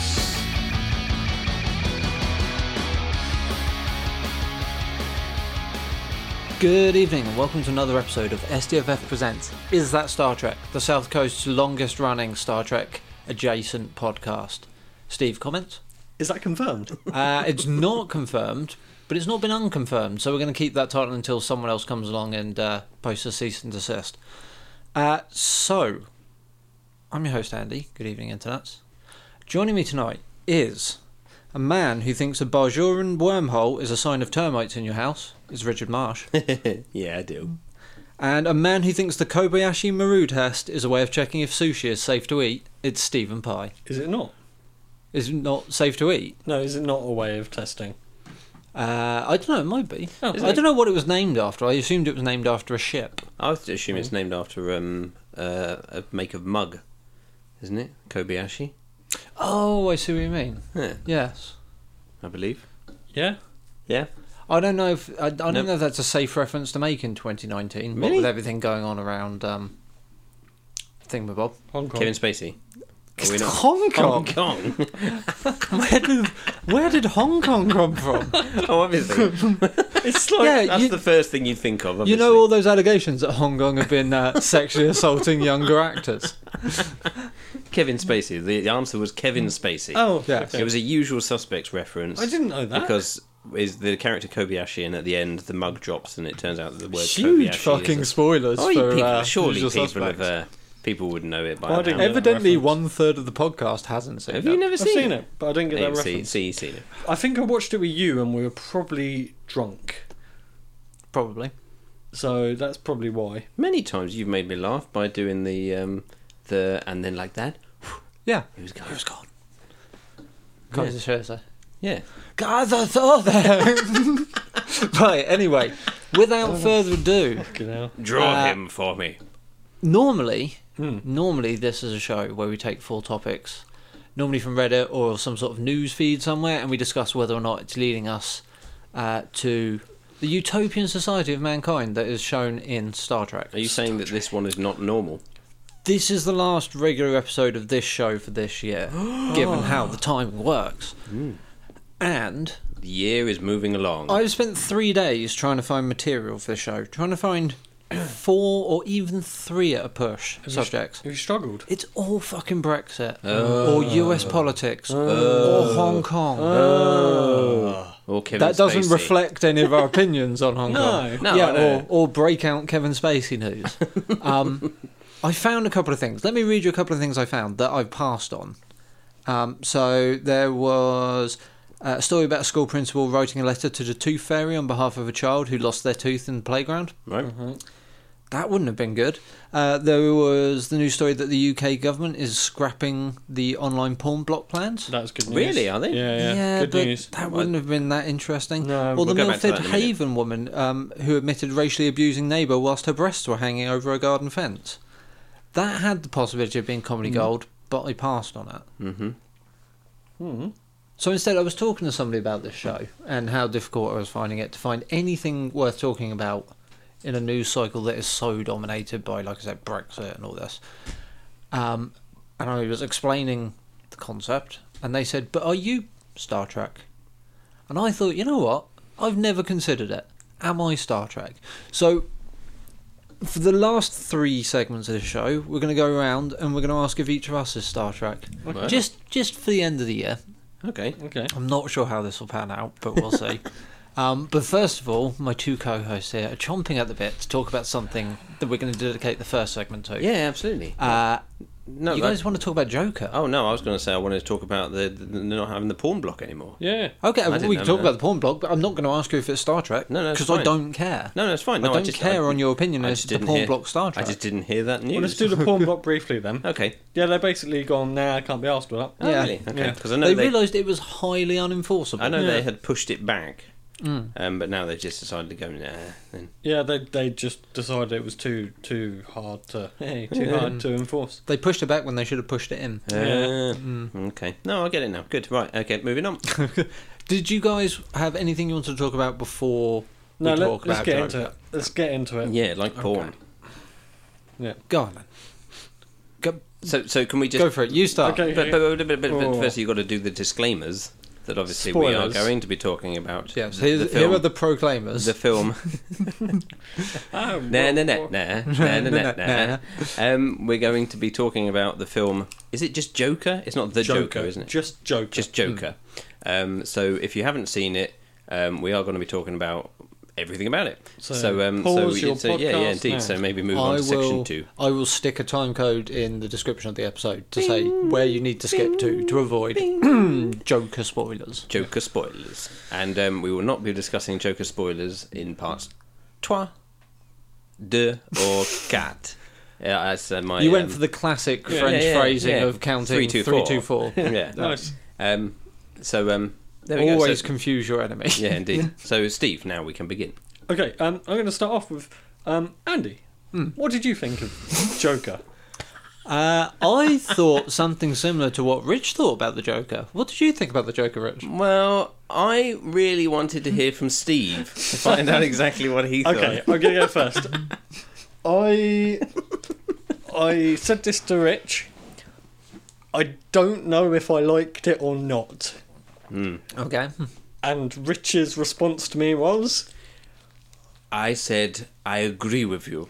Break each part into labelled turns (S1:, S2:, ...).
S1: Space.
S2: Good evening and welcome to another episode of SDFF Presents Is That Star Trek? The South Coast's longest running Star Trek adjacent podcast. Steve, comments?
S3: Is that confirmed?
S2: Uh, it's not confirmed, but it's not been unconfirmed, so we're going to keep that title until someone else comes along and uh, posts a cease and desist. Uh, so, I'm your host, Andy. Good evening, internets. Joining me tonight is a man who thinks a Bajoran wormhole is a sign of termites in your house, is Richard Marsh.
S3: yeah, I do.
S2: And a man who thinks the Kobayashi Maru test is a way of checking if sushi is safe to eat, it's Stephen Pye.
S3: Is it not?
S2: Is it not safe to eat?
S3: No, is it not a way of testing?
S2: Uh, I don't know, it might be.
S3: Oh, is
S2: I
S3: it?
S2: don't know what it was named after. I assumed it was named after a ship.
S4: I would assume it's named after um, uh, a make of mug, isn't it? Kobayashi,
S2: Oh, I see what you mean.
S4: Yeah.
S2: Yes.
S4: I believe.
S3: Yeah.
S4: Yeah.
S2: I don't know if I, I don't
S4: Nope.
S2: know if that's a safe reference to make in 2019, what
S4: Really?
S2: with everything going on around um, Thingamabob.
S3: Hong Kong.
S4: Kevin Spacey. Are we not?
S2: Hong Kong.
S4: Hong Kong.
S2: where, did, where did Hong Kong come from?
S4: oh, obviously.
S3: It's like
S2: Yeah,
S4: That's
S2: you-
S4: the first thing you think of. Obviously.
S2: You know all those allegations that Hong Kong have been uh, sexually assaulting younger actors.
S4: Kevin Spacey. The, the answer was Kevin Spacey.
S3: Oh,
S2: Yeah.
S3: okay.
S4: It was a usual suspects reference.
S3: I didn't know that.
S4: because is the character Kobayashi, and at the end the mug drops, and it turns out that the word Kobayashi
S2: Huge
S4: is
S2: fucking
S4: a-
S2: spoilers
S4: Oh,
S2: for
S4: people,
S2: uh,
S4: surely
S2: Usual
S4: people
S2: Suspects.
S4: have uh, people would know it by
S3: Why
S4: now.
S3: didn't-
S4: Have
S2: Evidently,
S3: reference.
S2: one third of the podcast hasn't seen.
S4: you
S2: it.
S4: never
S3: I've
S4: seen,
S3: seen it, but I didn't get
S4: Yeah,
S3: that
S4: you've seen,
S3: reference.
S4: see, you've seen it.
S3: I think I watched it with you, and we were probably drunk,
S2: Probably.
S3: so that's probably why.
S4: Many times you've made me laugh by doing the um, the and then like that.
S2: Yeah.
S4: It was gone. It was gone.
S2: Comes to show, so.
S4: Yeah.
S2: Guys, I saw that. right. Anyway, without further ado,
S3: Fucking hell.
S4: Draw
S2: Uh,
S4: him for me.
S2: normally,
S3: Hmm.
S2: normally this is a show where we take four topics, normally from Reddit or some sort of news feed somewhere, and we discuss whether or not it's leading us uh, to the utopian society of mankind that is shown in Star Trek.
S4: Are you saying that this one is not normal?
S2: This is the last regular episode of this show for this year, given how the time works.
S3: Hmm.
S2: And
S4: The year is moving along.
S2: I've spent three days trying to find material for the show, trying to find four or even three at a push subjects.
S3: Have you struggled?
S2: It's all fucking Brexit,
S4: Oh.
S2: or US politics, or Hong Kong.
S3: Uh,
S4: or Oh. Kevin
S2: That doesn't
S4: Spacey.
S2: reflect any of our opinions on Hong
S3: No.
S2: Kong.
S4: No,
S2: yeah,
S4: I know.
S2: Or, or break out Kevin Spacey news. um, I found a couple of things. Let me read you a couple of things I found that I've passed on. Um, so there was uh, a story about a school principal writing a letter to the tooth fairy on behalf of a child who lost their tooth in the playground.
S4: Right.
S2: That wouldn't have been good. Uh, there was the news story that the UK government is scrapping the online porn block plans.
S3: That's good news.
S4: Really, are they?
S3: Yeah, yeah. good
S2: but
S3: news.
S2: that wouldn't have been that interesting.
S3: No,
S2: or
S4: we'll
S2: the
S4: go back to
S2: Milford
S4: that in a minute.
S2: Haven woman um, who admitted racially abusing neighbour whilst her breasts were hanging over a garden fence. That had the possibility of being comedy gold, but I passed on it.
S4: Mm. Mm-hmm.
S2: So instead, I was talking to somebody about this show and how difficult I was finding it to find anything worth talking about in a news cycle that is so dominated by, like I said, Brexit and all this. Um, and I was explaining the concept, and they said, But are you Star Trek? And I thought, you know what? I've never considered it. Am I Star Trek? So, for the last three segments of the show, we're going to go around and we're going to ask if each of us is Star Trek.
S4: Okay.
S2: Just, just for the end of the year.
S4: Okay.
S3: Okay.
S2: I'm not sure how this will pan out, but we'll see. Um, but first of all, my two co-hosts here are chomping at the bit to talk about something that we're going to dedicate the first segment to.
S4: Yeah, absolutely.
S2: Uh,
S4: no,
S2: you
S4: I-
S2: guys want to talk about Joker?
S4: Oh no, I was going to say I wanted to talk about the, the not having the porn block anymore.
S3: Yeah.
S2: okay,
S4: I didn't
S2: we can
S4: know
S2: talk
S4: that.
S2: about the porn blog, but I'm not going to ask you if it's Star Trek.
S4: No, no, it's
S2: because I
S4: fine.
S2: don't care.
S4: No, no, it's fine.
S2: I
S4: No,
S2: don't
S4: just,
S2: care on your opinion
S4: I
S2: as
S4: just
S2: the
S4: didn't
S2: porn
S4: hear-
S2: block Star
S4: I
S2: Trek.
S4: just didn't hear that news.
S3: Well, let's do the porn block briefly then.
S4: Okay.
S3: Yeah, they basically gone. Nah, I can't be asked for that.
S4: Oh,
S2: Yeah.
S4: Really? Okay.
S3: Yeah.
S4: Because I know
S2: they,
S4: they
S2: realised it was highly unenforceable.
S4: I know
S3: Yeah.
S4: they had pushed it back,
S2: Mm.
S4: um, but now they've just decided to go. Nah, then.
S3: Yeah, they they just decided it was too too hard to hey, too hard to enforce.
S2: They pushed it back when they should have pushed it in.
S3: Yeah.
S4: Uh, Okay. No, I get it now. Good. Right. Okay. Moving on.
S2: Did you guys have anything you wanted to talk about before
S3: No,
S2: we
S3: let,
S2: talk
S3: let's
S2: about
S3: get
S2: Joker?
S3: into it. Let's get into it.
S4: yeah, like porn.
S3: Yeah.
S2: Go on. then. Go,
S4: So, so can we just?
S2: Go for it. You start.
S3: Okay.
S4: But, but, but, but, but
S3: Oh.
S4: first, you've got to do the disclaimers that obviously we are
S3: Spoilers.
S4: going to be talking about.
S2: Yes.
S4: the,
S2: Here's,
S4: the
S2: here are
S4: film.
S2: the proclaimers.
S4: the film.
S3: Ah,
S4: Nah,
S3: well,
S4: nah, nah,
S3: well,
S4: nah, nah, nah, nah, nah. Um, we're going to be talking about the film. Is it just Joker? It's not the Joker, isn't it?
S3: Just Joker.
S4: Just Joker. Um, so if you haven't seen it, um, we are going to be talking about everything about it. So,
S3: So
S4: um, so,
S3: pause
S4: you-
S3: your
S4: so yeah, yeah,
S3: podcast
S4: indeed.
S3: now.
S4: So maybe move on
S2: I
S4: to section
S2: will.
S4: two.
S2: I will stick a time code in the description of the episode to say where you need to skip to to avoid Joker spoilers.
S4: Joker spoilers, and um, we will not be discussing Joker spoilers in parts trois, deux, or quatre. Yeah, that's uh, my.
S2: You went
S4: um,
S2: for the classic
S4: Yeah,
S2: French
S4: yeah, yeah,
S2: phrasing
S4: yeah.
S2: of counting
S4: Three,
S2: three,
S4: two,
S2: two,
S4: four.
S2: four.
S4: yeah.
S3: Nice.
S4: Um, so um, there we
S2: Always
S4: go. So,
S2: confuse your enemy.
S4: yeah, indeed. So Steve, now we can begin.
S3: Okay, um, I'm going to start off with um, Andy. What did you think of Joker?
S2: Uh, I thought something similar to what Rich thought about the Joker. What did you think about the Joker, Rich?
S4: Well, I really wanted to hear from Steve to find out exactly what he thought.
S3: Okay, I'm gonna go first. I I said this to Rich. I don't know if I liked it or not.
S2: Okay.
S3: And Rich's response to me was,
S4: I said, I agree with you.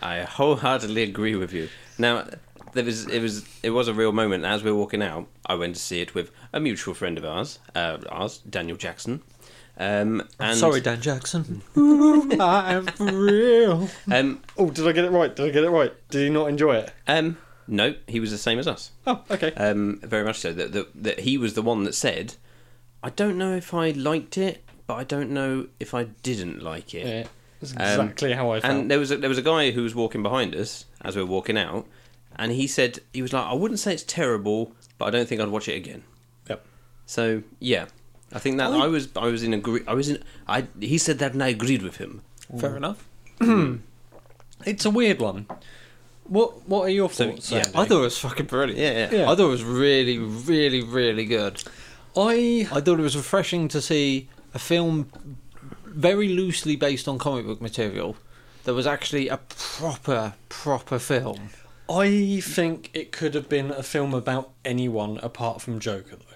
S4: I wholeheartedly agree with you. Now, there was it was it was a real moment. As we were walking out, I went to see it with a mutual friend of ours, uh, ours Daniel Jackson. Um, and,
S2: Sorry, Dan Jackson. Ooh, I am for real.
S4: Um,
S3: "Oh, did I get it right? Did I get it right? Did he not enjoy it?"
S4: um, no, he was the same as us.
S3: Oh, okay.
S2: Uh,
S4: Um, very much so. That, that that he was the one that said, "I don't know if I liked it, but I don't know if I didn't like it."
S3: yeah, that's
S4: Um,
S3: exactly how I felt.
S4: And there was a, there was a guy who was walking behind us as we were walking out, and he said he was like, "I wouldn't say it's terrible, but I don't think I'd watch it again."
S3: yep.
S4: So yeah, I think that I, was I was in agree I was in I he said that and I agreed with him.
S2: Fair enough.
S3: It's a weird one. What What are your thoughts?
S4: yeah,
S3: Andy?
S2: I thought it was fucking brilliant.
S4: Yeah,
S3: yeah.
S2: I thought it was really, really, really good.
S3: I
S2: I thought it was refreshing to see a film very loosely based on comic book material that was actually a proper, proper film.
S3: I think it could have been a film about anyone apart from Joker, though.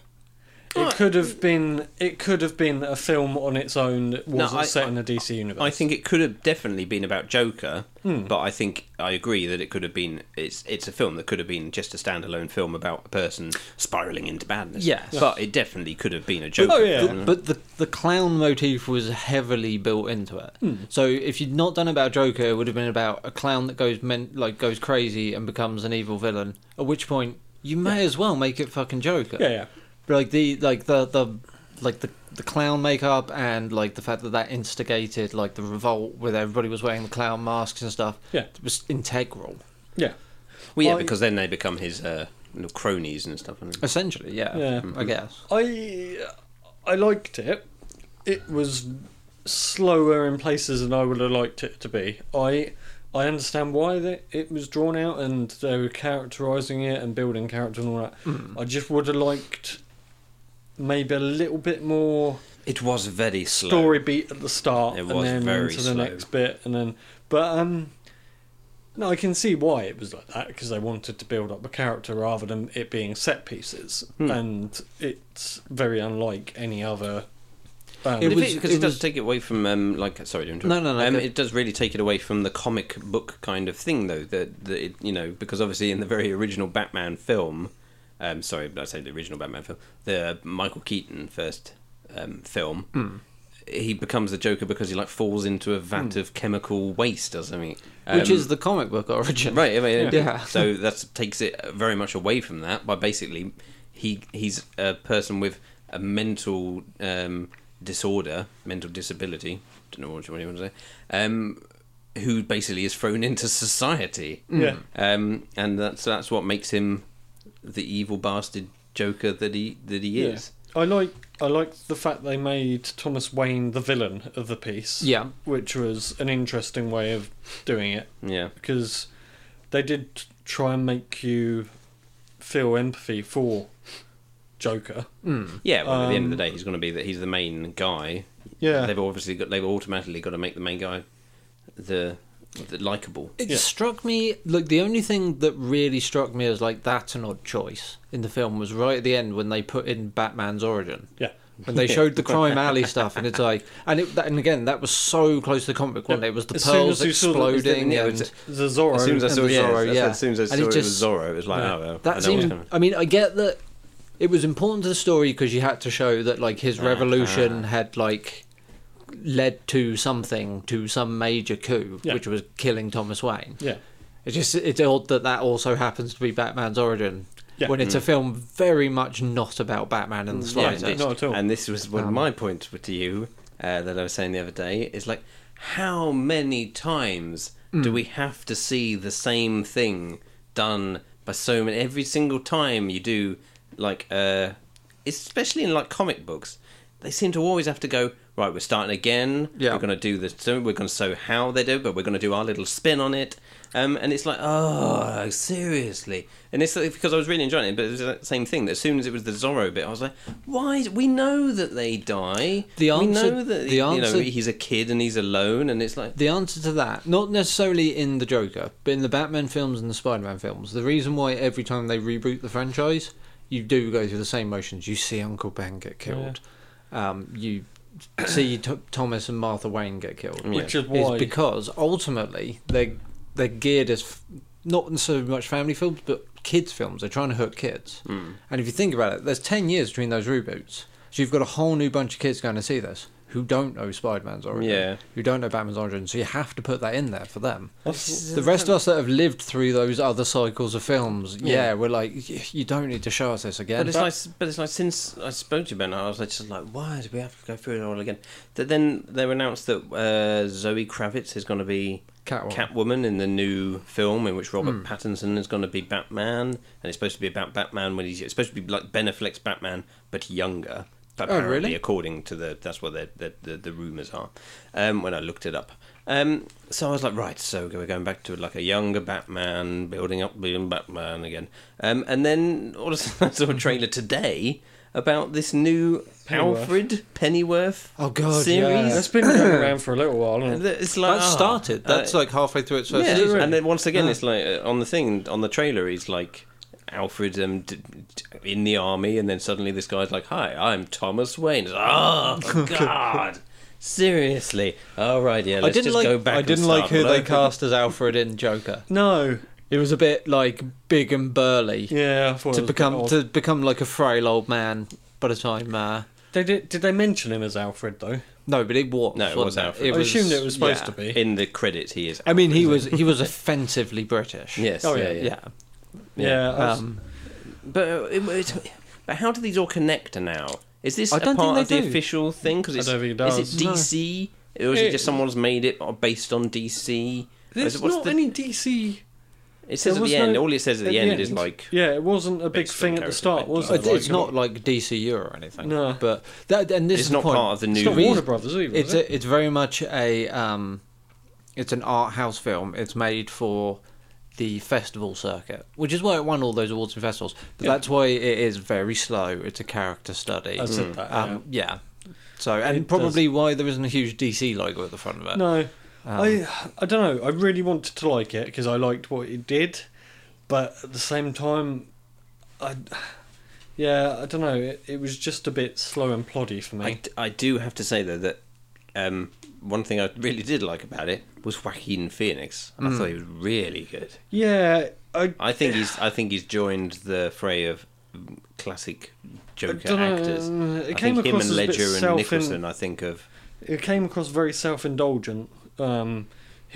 S3: It could have been. It could have been a film on its own. that Wasn't
S4: I-
S3: set
S4: I-
S3: in the DC universe.
S4: I think it could have definitely been about Joker,
S3: Hmm.
S4: but I think I agree that it could have been it's it's a film that could have been just a standalone film about a person spiraling into badness.
S2: Yes.
S4: but it definitely could have been a Joker.
S3: Oh, yeah.
S4: film.
S2: But the the clown motif was heavily built into it.
S3: Hmm.
S2: So if you'd not done about Joker, it would have been about a clown that goes men, like goes crazy and becomes an evil villain. At which point you may as well make it fucking Joker.
S3: Yeah, yeah.
S2: Like the like the the like the the clown makeup and like the fact that that instigated like the revolt with everybody was wearing the clown masks and stuff.
S3: Yeah.
S2: it was integral
S3: Yeah.
S4: Well, yeah,
S3: I-
S4: because then they become his uh, little cronies and stuff. And
S2: essentially. Yeah,
S3: Yeah.
S2: I
S4: Mm-hmm.
S2: guess.
S3: I I liked it. It was slower in places than I would have liked it to be. I I understand why that it was drawn out and they were characterising it and building character and all that.
S4: Hmm.
S3: I just would have liked maybe a little bit more
S4: it was very slow.
S3: story beat at the start
S4: It
S3: and
S4: was
S3: then
S4: very
S3: into the
S4: slow.
S3: next bit and then but um no i can see why it was like that because they wanted to build up a character rather than it being set pieces
S2: Hmm.
S3: and it's very unlike any other um,
S4: But
S2: It
S4: if It
S2: was-
S4: because it,
S2: it
S4: does
S2: was-
S4: take it away from um, like sorry to interrupt.
S2: No, no, no,
S4: Um,
S2: go-
S4: it does really take it away from the comic book kind of thing, though. That that it, you know because obviously in the very original Batman film, um, sorry, I say the original Batman film, the Michael Keaton first um, film.
S2: Hmm.
S4: He becomes the Joker because he like falls into a vat of chemical waste or something,
S2: Hmm. Which
S4: Um,
S2: is the comic book origin,
S4: right. I mean,
S2: Yeah.
S4: So that takes it very much away from that by basically he he's a person with a mental um, disorder, mental disability. Don't know what you what you want to say. Um, who basically is thrown into society.
S3: Mm. Yeah.
S4: Um, and that's that's what makes him the evil bastard Joker that he that he
S3: yeah.
S4: is.
S3: i like i like the fact they made thomas wayne the villain of the piece
S2: Yeah.
S3: which was an interesting way of doing it
S4: Yeah.
S3: because they did try and make you feel empathy for Joker.
S2: Hmm.
S4: Yeah, well, at the end of the
S3: Um,
S4: day, he's going to be that he's the main guy.
S3: Yeah.
S4: they've obviously got they've automatically got to make the main guy the the likable.
S2: It
S3: Yeah.
S2: struck me like the only thing that really struck me as like that's an odd choice in the film was right at the end when they put in Batman's origin.
S3: Yeah.
S2: When they showed the crime alley stuff, and it's like, and it, and again, that was so close to the comic book. wasn't it? It was the
S3: As soon
S2: pearls
S3: as you saw that-
S2: exploding,
S4: Yeah, it
S2: and
S4: was-
S3: The Zorro.
S4: As soon as I
S2: and
S4: saw
S2: the
S4: yeah,
S2: Zorro,
S4: that's-
S2: yeah.
S4: as soon as I
S2: And it
S4: saw it,
S2: just-
S4: was Zorro, it was like,
S3: Yeah.
S4: oh, well, I
S2: that
S4: know what's
S2: seemed.
S4: coming.
S2: I mean, I get that it was important to the story because you had to show that like his
S4: Ah,
S2: revolution had like led to something, to some major coup,
S3: Yeah.
S2: which was killing Thomas Wayne.
S3: Yeah.
S2: It's just it's odd that that also happens to be Batman's origin
S3: Yeah.
S2: when it's a film very much not about Batman in the
S4: Mm. Yeah,
S2: slightest.
S3: Right,
S4: indeed.
S3: not at all.
S4: And this was
S2: Um,
S4: one of my points to you uh, that I was saying the other day is like, how many times
S2: Hmm.
S4: do we have to see the same thing done by so many? Every single time you do, like, uh, especially in like comic books, they seem to always have to go. Right, we're starting again.
S2: Yeah.
S4: We're going to do this. So we're going to show how they do, it, but we're going to do our little spin on it. Um, and it's like, oh, seriously. And it's like, because I was really enjoying it, but it was that same thing. That as soon as it was the Zorro bit, I was like, why? Is, we know that they die.
S2: The
S4: we
S2: answer-
S4: know that
S2: the
S4: you know
S2: answer-
S4: he's a kid and he's alone, and it's like,
S2: The answer to that, not necessarily in the Joker, but in the Batman films and the Spider-Man films, the reason why every time they reboot the franchise, you do go through the same motions. You see Uncle Ben get killed. Um, you see T- Thomas and Martha Wayne get killed.
S4: Yeah.
S3: Which is
S2: Is
S3: why.
S2: because ultimately they they're geared as f- not so much family films, but kids films. They're trying to hook kids.
S4: Hmm.
S2: And if you think about it, there's ten years between those reboots, so you've got a whole new bunch of kids going to see this who don't know Spider-Man's origin,
S4: Yeah.
S2: who don't know Batman's origin. So you have to put that in there for them.
S3: That's-
S2: The rest of us that have lived through those other cycles of films, yeah, we're like, "Y- you don't need to show us this again.
S4: But it's like, but it's like since I spoke to you about it, I was like, just like, why do we have to go through it all again? That then they announced that uh, Zoe Kravitz is going to be
S2: Catwoman. Hmm.
S4: in the new film in which Robert Pattinson is going to be Batman, and it's supposed to be about Batman when he's it's supposed to be like Ben Affleck's Batman but younger. But
S2: Oh,
S4: apparently,
S2: really?
S4: according to the that's what the the, the, the rumors are. Um, when I looked it up. Um, so I was like, right, so we're going back to like a younger Batman, building up being Batman again. Um, and then all of a sudden I saw a
S2: Mm-hmm.
S4: trailer today about this new
S3: Pennyworth.
S4: Alfred Pennyworth
S2: Oh, God,
S4: series.
S2: yeah.
S3: That's been going around for a little while.
S4: And
S3: And
S4: It's like
S2: that
S4: ah,
S2: started.
S4: uh,
S2: That's like halfway through its first
S4: yeah,
S2: season.
S4: and then once again, it's like uh, on the thing on the trailer, he's like Alfred um, d- d- in the army, and then suddenly this guy's like, "Hi, I'm Thomas Wayne." It's, oh God, seriously? All right, yeah. Let's
S2: I didn't
S4: just
S2: like.
S4: go back.
S2: I
S4: and
S2: didn't like
S4: start
S2: who
S4: all
S2: they
S4: over.
S2: cast as Alfred in Joker.
S3: no.
S2: It was a bit like big and burly
S3: Yeah. I thought it was
S2: to
S3: a bit
S2: become
S3: odd.
S2: to become like a frail old man by the time. Uh,
S3: They did, did they mention him as Alfred though?
S2: no, but it was.
S4: No, it was
S2: wasn't
S4: Alfred.
S3: I assumed it was supposed
S2: yeah.
S3: to be.
S4: In the credits, he is.
S2: I mean, he was he was offensively British.
S4: Yes.
S3: Oh, yeah,
S4: yeah, yeah.
S2: yeah.
S3: yeah. I was-
S2: Um,
S4: But uh, it, it, but how do these all connect now? Is this
S2: I
S4: a
S2: don't
S4: part
S2: think
S4: of
S2: they
S4: the
S2: do.
S4: official thing? Because
S3: I
S4: it's
S3: don't think it
S4: is
S3: does.
S4: it
S2: No.
S4: DC or is it,
S3: It-
S4: just someone's made it or based on DC? Or is
S3: there's
S4: it- what's
S3: not
S4: the-
S3: any DC.
S4: It says
S3: There
S4: at
S3: was
S4: the end.
S3: no-
S4: All it says at, the, end, is like
S3: Yeah, it wasn't a big
S4: based on
S3: thing at the
S4: characters,
S3: start,
S4: like,
S3: was
S4: like-
S3: it?
S2: it- it's not like DCU or anything.
S3: No.
S2: but that and this
S4: it's
S2: is the
S4: not
S2: point.
S4: part of the
S3: It's
S4: new.
S3: not Warner
S4: reason.
S3: Brothers either.
S2: It's
S3: Is it?
S2: a, it's very much a um, it's an art house film. It's made for the festival circuit, which is why it won all those awards and festivals. But
S3: Yeah.
S2: that's why it is very slow. It's a character study.
S3: I said that.
S2: Um, yeah. So and
S3: It
S2: probably why there isn't a huge DC logo at the front of
S3: yeah.
S2: it.
S3: No,
S2: Um,
S3: I I don't know. I really wanted to like it because I liked what it did, but at the same time, I yeah I don't know. It, it was just a bit slow and ploddy for
S4: I,
S3: me.
S4: d- I do have to say though that um, one thing I really did like about it was Joaquin Phoenix. I thought he was really good.
S3: yeah, I
S4: I think he's. I think he's joined the fray of classic Joker
S3: dunno,
S4: actors.
S3: uh, it
S4: I
S3: came
S4: think him
S3: across as
S4: and
S3: a bit
S4: Ledger and
S3: self-in-
S4: Nicholson. I think of
S3: it came across very self indulgent. Um,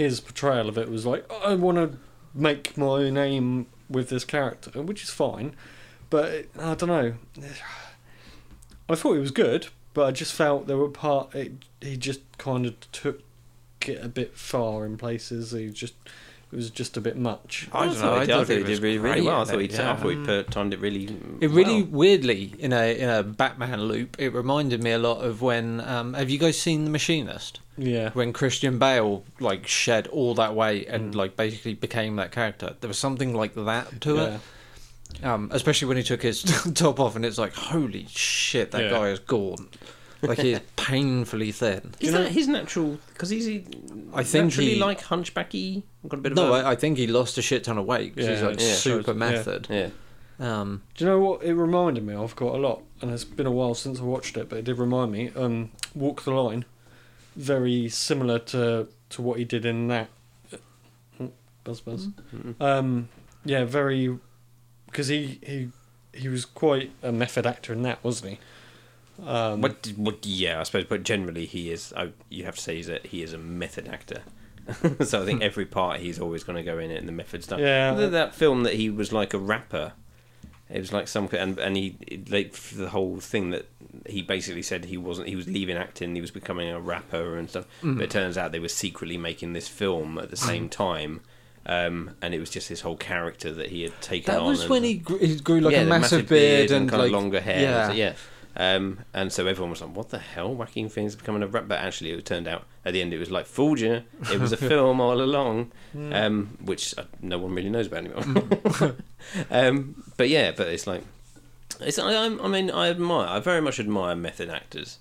S3: his portrayal of it was like, I want to make my name with this character, which is fine, but it, I don't know. I thought he was good, but I just felt there were part it, he just kind of took it a bit far in places. He just it was just a bit much.
S2: I don't know,
S4: he
S2: I
S4: did-
S2: thought
S4: I thought
S2: he
S4: he
S2: was
S4: did really, really
S2: great
S4: well. I
S2: in
S4: thought
S2: it,
S4: he.
S2: yeah.
S4: I thought he per- timed it really.
S2: It really
S4: well.
S2: weirdly in a in a Batman loop. It reminded me a lot of when um, have you guys seen The Machinist?
S3: Yeah,
S2: when Christian Bale like shed all that weight and like basically became that character. There was something like that to
S3: yeah.
S2: it, um, especially when he took his top off, and it's like, holy shit, that
S3: Yeah.
S2: guy is gone. Like he is painfully thin.
S4: Is
S3: you know-
S4: that his natural? Because he's he,
S2: I think
S4: naturally
S2: he-
S4: like hunchbacky. Got a bit of
S2: No,
S4: a-
S2: I, I think he lost a shit ton of weight 'cause he's
S3: Yeah,
S2: like
S4: yeah.
S2: super
S3: Yeah.
S2: method.
S4: yeah.
S2: Um,
S3: Do you know what it reminded me of quite a lot? And it's been a while since I watched it, but it did remind me. Um, Walk the Line, very similar to to what he did in that. Oh, Buzz buzz.
S4: Mm-hmm.
S3: Um, yeah, very, because he he he was quite a method actor in that, wasn't he? Um,
S4: What? What? Yeah, I suppose. But generally, he is. I, you have to say he's a, he is a method actor. so I
S2: Hmm.
S4: think every part he's always going to go in it in the method stuff.
S3: Yeah.
S4: Th- that film that he was like a rapper. It was like some and and he it- like for the whole thing that he basically said he wasn't. He was leaving acting. He was becoming a rapper and stuff.
S2: Hmm.
S4: But it turns out they were secretly making this film at the same time. Um, and it was just his whole character that he had taken
S2: that
S4: on.
S2: was
S4: and-
S2: when he grew, he grew like
S4: yeah,
S2: a
S4: the
S2: massive, beard, and,
S4: kind
S2: like
S4: of longer hair.
S2: Yeah,
S4: Yeah, yeah. Um, and so everyone was like, "What the hell? Whacking things becoming a rap." But actually, it turned out at the end it was like fooled you. It was a film all along,
S2: Mm.
S4: um, which uh, no one really knows about anymore. um, but yeah, but it's like, it's. I, I'm- I mean, I admire. I very much admire method actors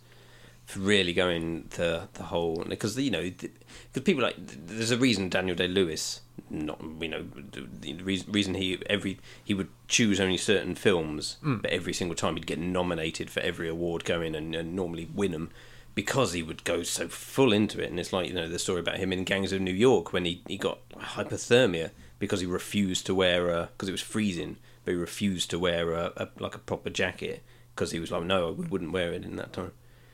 S4: for really going the the whole because you know because people like there's a reason Daniel Day Lewis not you know the- the reason, reason he every he would choose only certain films but every single time he'd get nominated for every award going and, and normally win them because he would go so full into it and it's like you know the story about him in Gangs of New York when he, he got hypothermia because he refused to wear a because it was freezing but he refused to wear a, a like a proper jacket because he was like no I wouldn't wear it in that time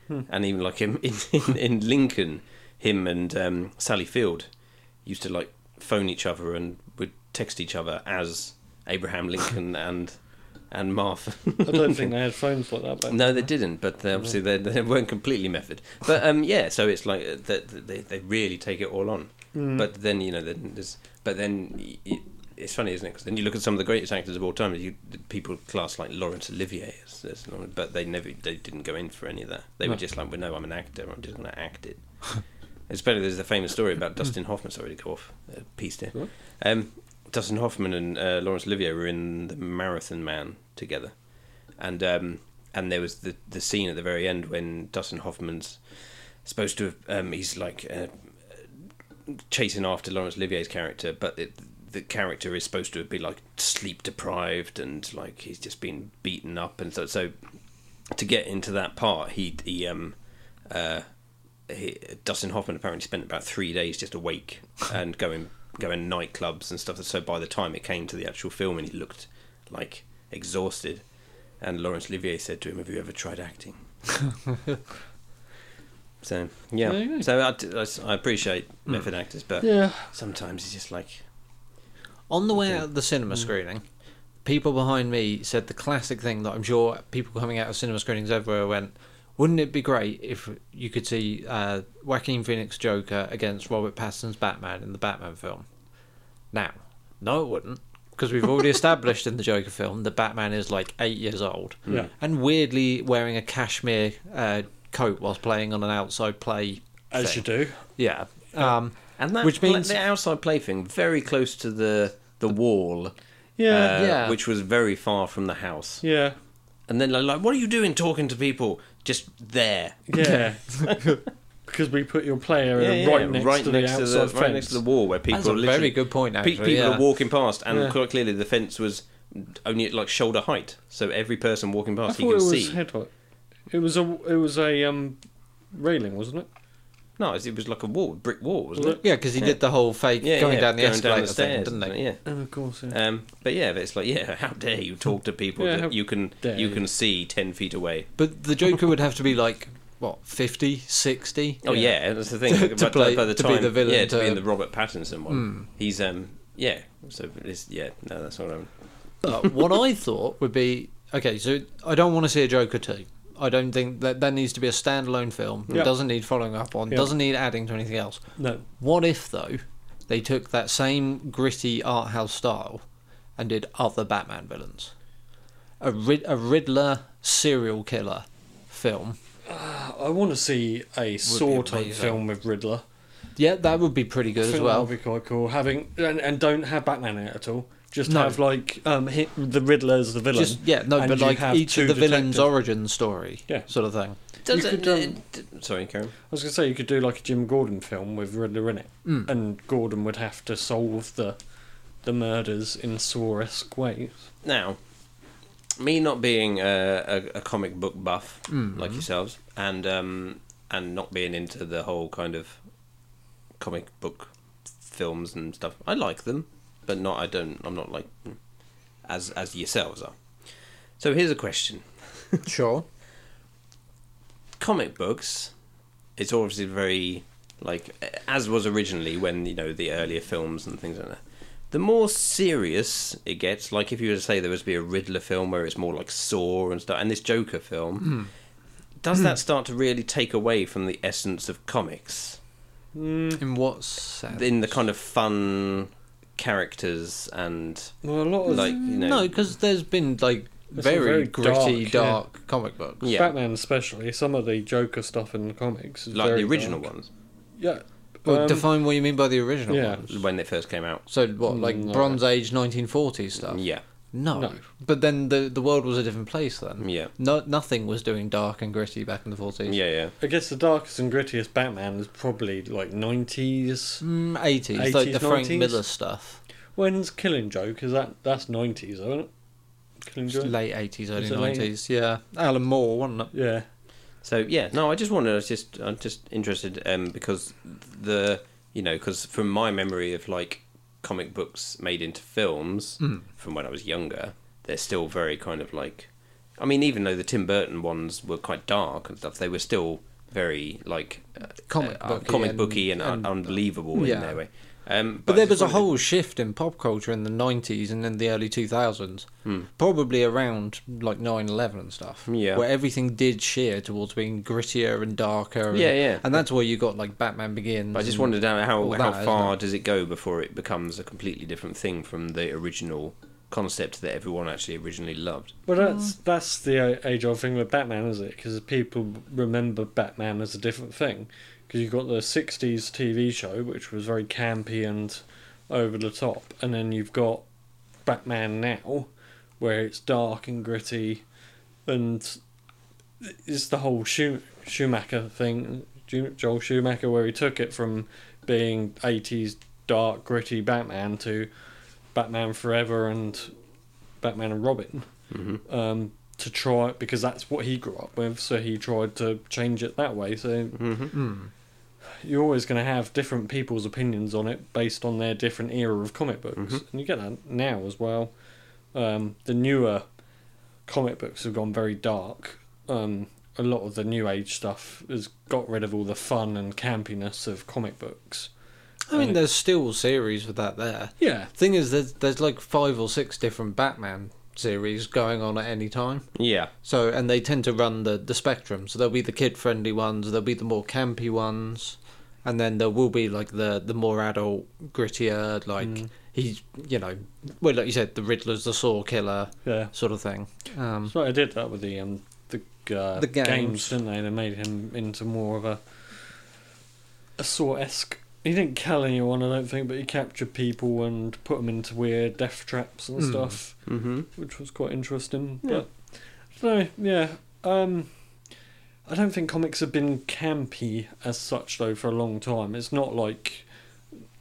S3: Hmm.
S4: and even like him in, in, in Lincoln, him and um, Sally Field used to like phone each other and would text each other as Abraham Lincoln and and Martha.
S3: I don't think they had phones like that back.
S4: no, they didn't, but they, obviously they, they weren't completely method. But um, yeah, so it's like uh, that that they they really take it all on. But then you know then there's but then. y y it's funny, isn't it? Because then you look at some of the greatest actors of all time. You, people class like Laurence Olivier, as, as, but they never, they didn't go in for any of that. They were
S2: No.
S4: just like, well, no, I'm an actor. I'm just going to act it. Especially there's the famous story about Dustin Hoffman. Sorry to go off a piece there.
S3: Sure.
S4: Um, Dustin Hoffman and uh, Laurence Olivier were in the Marathon Man together, and um, and there was the the scene at the very end when Dustin Hoffman's supposed to have um, he's like uh, chasing after Laurence Olivier's character, but it, the character is supposed to be like sleep deprived and like he's just been beaten up, and so so to get into that part, he he um uh he, Dustin Hoffman apparently spent about three days just awake and going going nightclubs and stuff. So by the time it came to the actual film, and he looked like exhausted, and Laurence Olivier said to him, "Have you ever tried acting?" so
S3: There you
S4: yeah,
S3: go. Hmm.
S4: so I, d- I s- I appreciate method actors, but
S3: Yeah.
S4: sometimes it's just like
S2: On the way out of the
S4: Mm.
S2: cinema screening, people behind me said the classic thing that I'm sure people coming out of cinema screenings everywhere went, wouldn't it be great if you could see uh, Joaquin Phoenix Joker against Robert Pattinson's Batman in the Batman film? Now, no, it wouldn't, because we've already established in the Joker film that Batman is like eight years old
S3: Yeah.
S2: and weirdly wearing a cashmere uh, coat whilst playing on an outside play.
S3: As
S2: thing.
S3: you do.
S2: Yeah. Um,
S4: and that
S2: Which
S4: pla-
S2: means-
S4: the outside play thing very close to the the wall,
S3: Yeah.
S4: uh,
S2: Yeah.
S4: which was very far from the house.
S3: yeah.
S4: And then like, like, what are you doing talking to people just there?
S3: Yeah. because we put your player
S4: Yeah, yeah,
S3: right next to the
S4: to
S3: outside
S4: right next
S3: fence.
S4: to the wall where people
S2: that's a
S4: are
S2: very
S4: literally-
S2: good point,
S4: pe-
S2: actually.
S4: people
S2: yeah.
S4: are walking past, and
S3: Yeah.
S4: quite clearly the fence was only at like shoulder height, so every person walking
S3: I
S4: past he
S3: thought it
S4: can
S3: was
S4: see.
S3: head height. It was a it was a um railing, wasn't it?
S4: No, it was like a wall, brick wall, wasn't it?
S2: Yeah, because he did the whole fake
S4: Yeah,
S2: going
S4: yeah,
S2: down the
S4: going
S2: escalator
S4: down the
S2: thing,
S4: stairs,
S2: didn't they?
S4: Yeah.
S3: Oh, of course. Yeah.
S4: Um, but yeah, but it's like, yeah, how dare you talk to people
S3: Yeah, how
S4: that you can
S3: dare
S4: you
S3: you.
S4: can see ten feet away?
S2: But the Joker would have to be like what 50, 60?
S4: Oh yeah, that's the thing.
S2: To
S4: By- by-
S2: play-
S4: by the
S2: to be
S4: time,
S2: the villain,
S4: yeah, to, be
S2: to-
S4: in the Robert Pattinson one. He's um, yeah. So it's, yeah, no, that's what I'm.
S2: But what I thought would be okay. So I don't want to see a Joker two. I don't think that that needs to be a standalone film. It
S3: Yeah.
S2: doesn't need following up on.
S3: Yeah.
S2: Doesn't need adding to anything else.
S3: No.
S2: What if though they took that same gritty art house style and did other Batman villains? A Rid- a Riddler serial killer film.
S3: I want to see a Saw type
S2: amazing.
S3: film with Riddler.
S2: Yeah, that would be pretty
S3: I
S2: good as
S3: think
S2: well.
S3: That would be quite cool. Having and, and don't have Batman in it at all. Just
S2: No.
S3: have like um, hit the Riddler as the villain.
S2: Just yeah, no,
S3: and
S2: but
S3: you
S2: like
S3: have
S2: each
S3: two
S2: of the villain's
S3: detectives.
S2: origin story,
S3: Yeah.
S2: sort of thing.
S4: Does
S3: You
S4: it,
S3: could, um,
S4: it- d- Sorry, Karen.
S3: I was gonna say you could do like a Jim Gordon film with Riddler in it,
S2: Mm.
S3: and Gordon would have to solve the the murders in Saw-esque ways.
S4: Now, me not being a, a, a comic book buff like yourselves, and um, and not being into the whole kind of comic book films and stuff, I like them, but not. I don't. I'm not like as as yourselves are. So here's a question:
S2: Sure.
S4: comic books, it's obviously very like as was originally when you know the earlier films and things like that. The more serious it gets, like if you were to say there was to be a Riddler film where it's more like Saw and stuff, and this Joker film, does that start to really take away from the essence of comics
S2: In what sense?
S4: in the kind of fun characters and
S3: Well, a lot of
S4: like you know
S2: no, because there's been like
S3: It's all
S2: very,
S3: very
S2: gritty,
S3: dark,
S2: dark,
S3: yeah.
S2: comic books.
S4: yeah,
S3: Batman, especially some of the Joker stuff in the comics, is
S4: like
S3: very
S4: the original
S3: dark.
S4: ones
S3: Yeah,
S2: Well,
S3: Um,
S2: define what you mean by the original
S3: yeah. Mm,
S2: ones.
S4: when they first came out.
S2: So what, like
S3: No.
S2: Bronze Age 1940s stuff?
S4: Yeah,
S2: No.
S3: No.
S2: But then the the world was a different place then.
S4: yeah,
S2: No, nothing was doing dark and gritty back in the 40s.
S4: yeah, yeah.
S3: I guess the darkest and grittiest Batman is probably like nineties.
S2: Mm, 80s, like
S3: 80s,
S2: the Frank
S3: 90s?
S2: Miller stuff.
S3: When's Killing Joke? Is that that's nineties, isn't it? Killing Joke.
S2: Late 80s, early
S3: It's a late-
S2: 90s. Yeah. Alan Moore, wasn't it?
S3: Yeah,
S4: So yeah, no, I just wanted. I was just, I'm just interested um, because the you know because from my memory of like comic books made into films
S2: Hmm.
S4: from when I was younger, they're still very kind of like. I mean, even though the Tim Burton ones were quite dark and stuff, they were still very like uh,
S2: Comic
S4: uh,
S2: booky
S4: comic
S2: and-
S4: booky and, un-
S2: and-
S4: unbelievable in
S2: Yeah.
S4: their way. Um,
S2: But,
S4: I
S2: there was
S4: just
S2: a
S4: wondered-
S2: whole shift in pop culture in the 90s and in the early 2000s, probably around like 9 11 and stuff,
S4: Hmm. Yeah.
S2: where everything did sheer towards being grittier and darker. And,
S4: Yeah, yeah.
S2: And that's where you got like Batman Begins.
S4: I just
S2: and-
S4: wondered how how,
S2: all that,
S4: how
S2: isn't
S4: far
S2: it?
S4: does it go before it becomes a completely different thing from the original concept that everyone actually originally loved.
S3: well, that's that's the age old thing with Batman, is it? Because people remember Batman as a different thing. Because you've got the '60s TV show, which was very campy and over the top, and then you've got Batman now, where it's dark and gritty, and it's the whole Schu- Schumacher thing, Ju- Joel Schumacher, where he took it from being 80s dark, gritty Batman to Batman Forever and Batman and Robin um, to try, because that's what he grew up with, so he tried to change it that way. So
S2: Hmm.
S3: you're always going to have different people's opinions on it based on their different era of comic books, and you get that now as well. Um, the newer comic books have gone very dark. Um, a lot of the new age stuff has got rid of all the fun and campiness of comic books.
S2: I mean, there's still series with that there.
S3: Yeah,
S2: Thing is, there's, there's like five or six different Batman series going on at any time.
S4: Yeah.
S2: So, and they tend to run the, the spectrum. So there'll be the kid friendly ones, there'll be the more campy ones, and then there will be like the, the more adult, grittier, like
S3: Mm.
S2: he's, you know, well, like you said, the Riddler's the Saw Killer
S3: yeah.
S2: sort of thing. Um,
S3: So I did that with the um the uh,
S2: The
S3: games.
S2: games.
S3: didn't they? They made him into more of a a Saw esque. He didn't kill anyone, I don't think, but he captured people and put them into weird death traps and
S2: Mm.
S3: stuff.
S4: Mm-hmm.
S3: which was quite interesting.
S4: Yeah.
S3: But I don't know, yeah. Um I don't think comics have been campy as such though for a long time. It's not like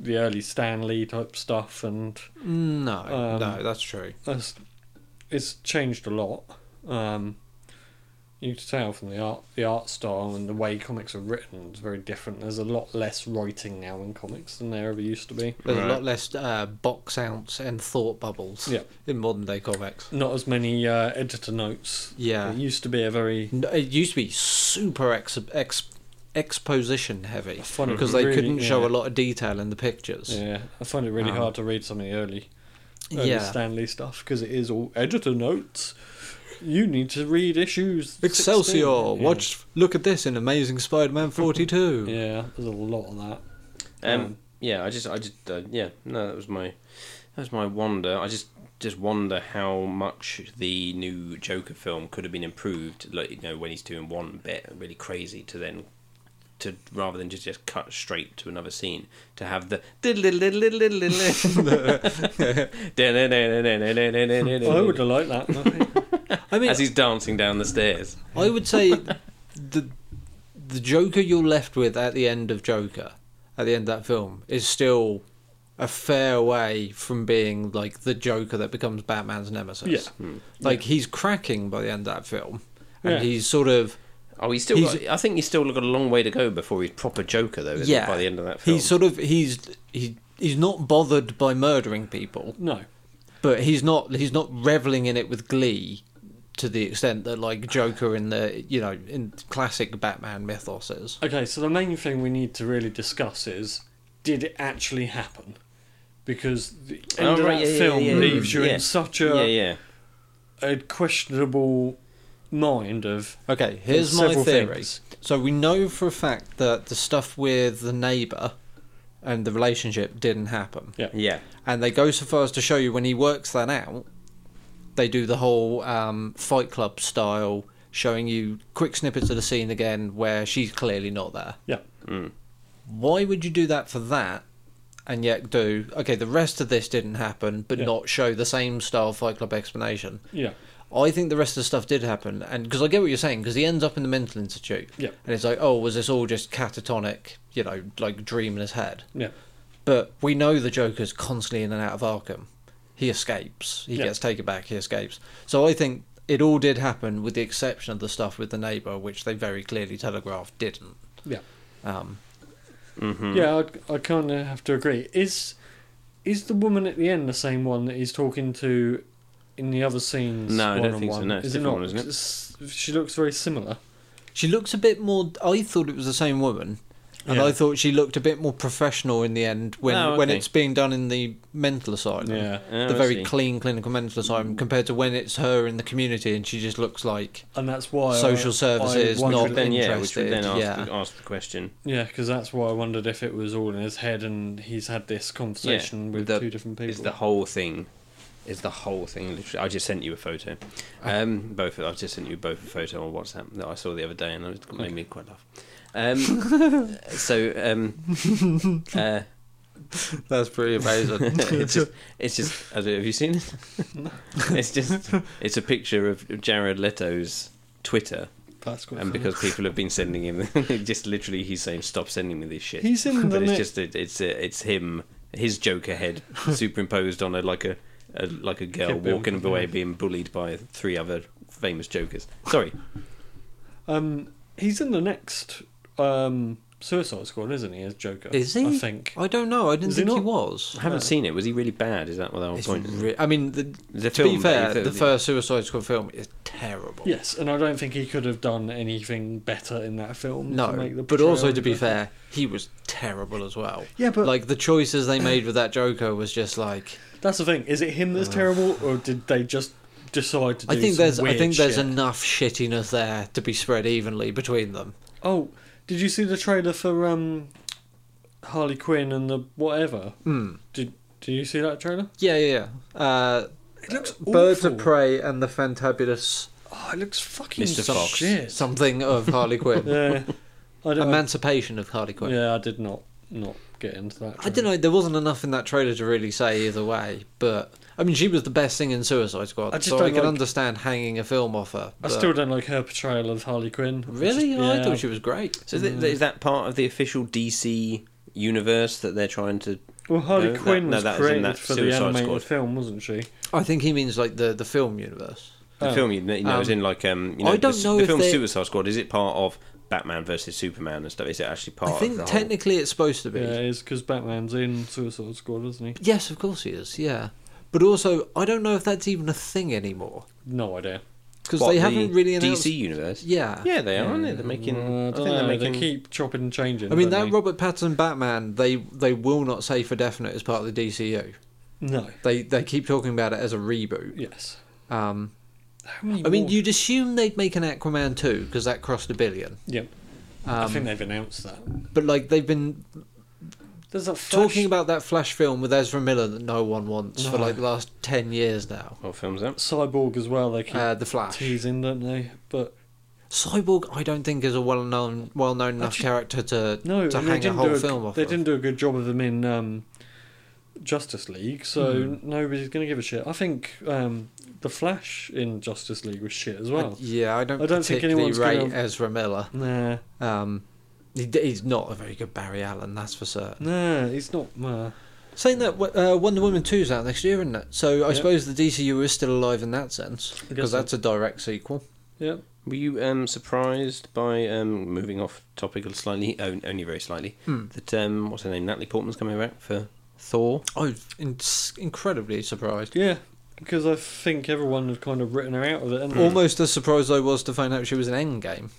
S3: the early Stan Lee type stuff and
S2: no,
S3: Um,
S2: no, that's true.
S3: that's, it's changed a lot. Um you can tell from the art the art style and the way comics are written is very different. There's a lot less writing now in comics than there ever used to be.
S2: There's
S4: Right.
S2: a lot less uh, box ounce and thought bubbles
S3: Yeah.
S2: in modern day comics.
S3: Not as many uh, editor notes.
S2: Yeah.
S3: It used to be a very
S2: No, It used to be super ex- ex- exposition heavy
S3: I find it
S2: because they
S3: really-
S2: couldn't show
S3: yeah.
S2: a lot of detail in the pictures.
S3: Yeah, I find it really
S2: Um,
S3: hard to read some of the early, early
S2: Yeah.
S3: Stanley stuff because it is all editor notes. You need to read issues. 16.
S2: Excelsior!
S3: Yeah.
S2: Watch, look at this in Amazing Spider-Man 42.
S3: Yeah, there's a lot of that.
S4: Um,
S3: Um,
S4: yeah, I just, I just, uh, yeah, no, that was my, that was my wonder. I just, just wonder how much the new Joker film could have been improved. Like you know, when he's doing one bit really crazy to then to rather than just just cut straight to another scene to have the I
S3: I would have liked that. I think.
S2: I mean,
S4: as he's dancing down the stairs.
S2: I would say the the Joker you're left with at the end of Joker, at the end of that film, is still a fair way from being like the Joker that becomes Batman's nemesis.
S3: Yeah.
S4: Hmm.
S2: Like he's cracking by the end of that film, and
S3: Yeah.
S2: he's sort of
S4: Oh, he's still.
S2: He's-
S4: got, I think he's still got a long way to go before he's proper Joker, though. Isn't
S2: yeah.
S4: yeah. By the end of that film,
S2: he's sort of he's he he's not bothered by murdering people,
S3: No.
S2: but he's not he's not reveling in it with glee. To the extent that, like Joker in the you know in classic Batman mythos is,
S3: Okay, so the main thing we need to really discuss is did it actually happen? Because the end
S4: Oh,
S3: of
S4: right,
S3: that
S4: yeah, yeah,
S3: film
S4: yeah, yeah.
S3: leaves you
S4: Yeah.
S3: in such a,
S4: yeah, yeah.
S3: a questionable mind of
S2: Okay, here's my
S3: several
S2: theory.
S3: things.
S2: So we know for a fact that the stuff with the neighbour and the relationship didn't happen.
S4: Yeah,
S2: And they go so far as to show you when he works that out, they do the whole um, Fight Club style, showing you quick snippets of the scene again where she's clearly not there.
S3: Yeah.
S4: Mm.
S2: Why would you do that for that? And yet, do okay. The rest of this didn't happen, but
S3: Yeah.
S2: not show the same style Fight Club explanation.
S3: Yeah.
S2: I think the rest of the stuff did happen, and because I get what you're saying, because he ends up in the mental institute,
S3: Yeah.
S2: and it's like, oh, was this all just catatonic, you know, like dream in his head?
S3: Yeah.
S2: But we know the Joker's constantly in and out of Arkham. He escapes. He
S3: Yeah.
S2: gets taken back. He escapes. So I think it all did happen, with the exception of the stuff with the neighbor, which they very clearly telegraphed didn't.
S3: Yeah.
S2: Um,
S4: Hmm.
S3: Yeah, I, I kind of have to agree. Is is the woman at the end the same one that he's talking to in the other scenes?
S4: No, I don't
S3: one-on-one?
S4: think so, no, it's
S3: is it
S4: different
S3: not?
S4: one, isn't it?
S3: It's- she looks very similar.
S2: she looks a bit more. I thought it was the same woman. And
S3: Yeah.
S2: I thought she looked a bit more professional in the end when,
S4: Oh,
S2: when
S4: okay.
S2: it's being done in the mental asylum.
S4: Oh,
S2: the
S4: I
S2: very
S4: see.
S2: clean clinical mental asylum compared to when it's her in the community and she just looks like
S3: and that's why I-
S2: Social
S3: I
S2: services, not-
S3: wondered-
S4: Which would then, yeah, which would then ask,
S2: interested,
S4: the, ask the question.
S3: Yeah, because that's why I wondered if it was all in his head and he's had this conversation with
S4: the-
S3: two different people.
S4: Is the whole thing? Is the whole thing? Literally, I just sent you a photo.
S2: Ah.
S4: Um, both. I just sent you both a photo on WhatsApp that I saw the other day, and it made me quite laugh. Um, so um, uh,
S2: that's pretty amazing.
S4: it's just, it's just. I don't know, Have you seen it? it's just. It's a picture of Jared Leto's Twitter,
S3: That's quite
S4: and
S3: funny.
S4: because people have been sending him, just literally, he's saying, "Stop sending me this shit."
S3: he's in the
S4: but it's
S3: next.
S4: just it, it's a, it's him his Joker head superimposed on a like a, a like a girl
S3: Kid being-
S4: walking away being bullied by three other famous Jokers. Sorry,
S3: Um, he's in the next um, Suicide Squad, isn't he? As Joker,
S2: Is he?
S3: I think.
S2: I don't know. I didn't
S3: Is he
S2: think
S3: not?
S2: he, was.
S4: I haven't
S3: Uh,
S4: seen it. Was he really bad? Is that what the whole
S2: It's
S4: point? is?
S2: re- I mean, the,
S4: The
S2: to be
S4: film that you
S2: fair,
S4: thought-
S2: the first Suicide Squad film is terrible.
S3: Yes, and I don't think he could have done anything better in that film. to
S2: No,
S3: make the
S2: but also
S3: portrayal
S2: to be
S3: better.
S2: fair, he was terrible as well.
S3: Yeah, but
S2: like the choices they made with that Joker was just like
S3: that's the thing. Is it him that's terrible, or did they just decide to do?
S2: I think
S3: some
S2: there's I
S3: weird
S2: think there's
S3: shit?
S2: enough shittiness there to be spread evenly between them.
S3: Oh, did you see the trailer for um, Harley Quinn and the whatever?
S2: Hmm.
S3: Did Do you see that trailer?
S2: Yeah, yeah. yeah. Uh,
S3: It looks
S2: Birds of
S3: awful.
S2: Prey and the Fantabulous
S3: Oh, it looks fucking
S4: Mr.
S3: some
S4: Fox.
S3: shit.
S2: something of Harley Quinn.
S3: yeah, I don't.
S2: Emancipation of Harley Quinn.
S3: yeah, I did not not get into that.
S2: I don't
S3: trailer.
S2: know. There wasn't enough in that trailer to really say either way, but I mean, she was the best thing in Suicide Squad,
S3: I just
S2: so I
S3: don't
S2: can
S3: like-
S2: understand hanging a film off her.
S3: I
S2: but-
S3: still don't like her portrayal of Harley Quinn.
S2: really,
S3: Just-
S2: I
S3: yeah.
S2: thought she was great.
S4: So th- is that part of the official DC universe that they're trying to?
S3: Well, Harley
S4: No, that-
S3: Quinn
S4: no,
S3: was
S4: that was in
S3: created
S4: that
S3: for the
S4: Suicide
S3: animated
S4: Squad.
S3: film, wasn't she?
S2: I think he means like the the film universe.
S4: The
S3: Oh.
S4: film, you know, is in like um, you know,
S2: I don't
S4: the,
S2: know
S4: the
S2: if
S4: film
S2: they-
S4: Suicide Squad. Is it part of Batman versus Superman and stuff? Is it actually part?
S2: I think
S4: of the whole...
S2: technically it's supposed to be.
S3: Yeah, it is because Batman's in Suicide Squad, isn't he?
S2: Yes, of course he is. Yeah, but also I don't know if that's even a thing anymore
S3: No idea.
S2: because
S4: What,
S2: they
S4: the
S2: haven't really announced.
S4: DC universe.
S2: Yeah.
S4: Yeah, they are, aren't they?
S3: Yeah,
S4: They're making.
S3: well, Mm, I
S4: Um, I
S3: don't
S4: think they're
S3: know,
S4: making.
S3: They keep chopping and changing.
S2: I mean
S3: don't
S2: that Robert Pattinson Batman, they they will not say for definite as part of the DCU.
S3: they? no.
S2: They they keep talking about it as a reboot.
S3: Yes.
S2: Um,
S3: How many
S2: I mean,
S3: more-
S2: you'd assume they'd make an Aquaman 2 because that crossed a billion.
S3: Yeah, I
S2: Um,
S3: think they've announced that.
S2: But like they've been
S3: There's a
S2: talking about that Flash film with Ezra Miller that no one wants for
S3: No.
S2: like the last ten years now.
S4: What film's that?
S3: Cyborg as well. They keep
S2: Uh, the Flash.
S3: teasing, don't they? But
S2: Cyborg, I don't think is a well-known, well-known enough
S3: Actually-
S2: character to
S3: No,
S2: to
S3: and they
S2: hang a
S3: didn't
S2: whole
S3: do a,
S2: film off.
S3: They
S2: of.
S3: didn't do a good job of them in um, Justice League, so
S2: Hmm.
S3: nobody's going to give a shit. I think um, the Flash in Justice League was shit as
S2: I-
S3: well.
S2: yeah, I don't,
S3: I don't think
S2: particularly
S3: anyone's
S2: rate
S3: gonna-
S2: Ezra Miller.
S3: nah,
S2: Um, he, d- he's not a very good Barry Allen, that's for certain.
S3: nah, he's not. Nah.
S2: Saying that, uh, Wonder Woman 2's out next year, isn't it? So I
S3: Yeah.
S2: suppose the DCU is still alive in that sense
S3: I guess
S2: because
S3: so.
S2: that's a direct sequel.
S3: Yeah,
S4: Were you um, surprised by um, moving off topic slightly, oh, only very slightly,
S2: Hmm.
S4: that um, what's her name, Natalie Portman's coming back for Thor?
S2: I'm in- incredibly surprised.
S3: yeah, because I think everyone had kind of written her out of it, and
S2: Almost as surprised I was to find out she was an Endgame.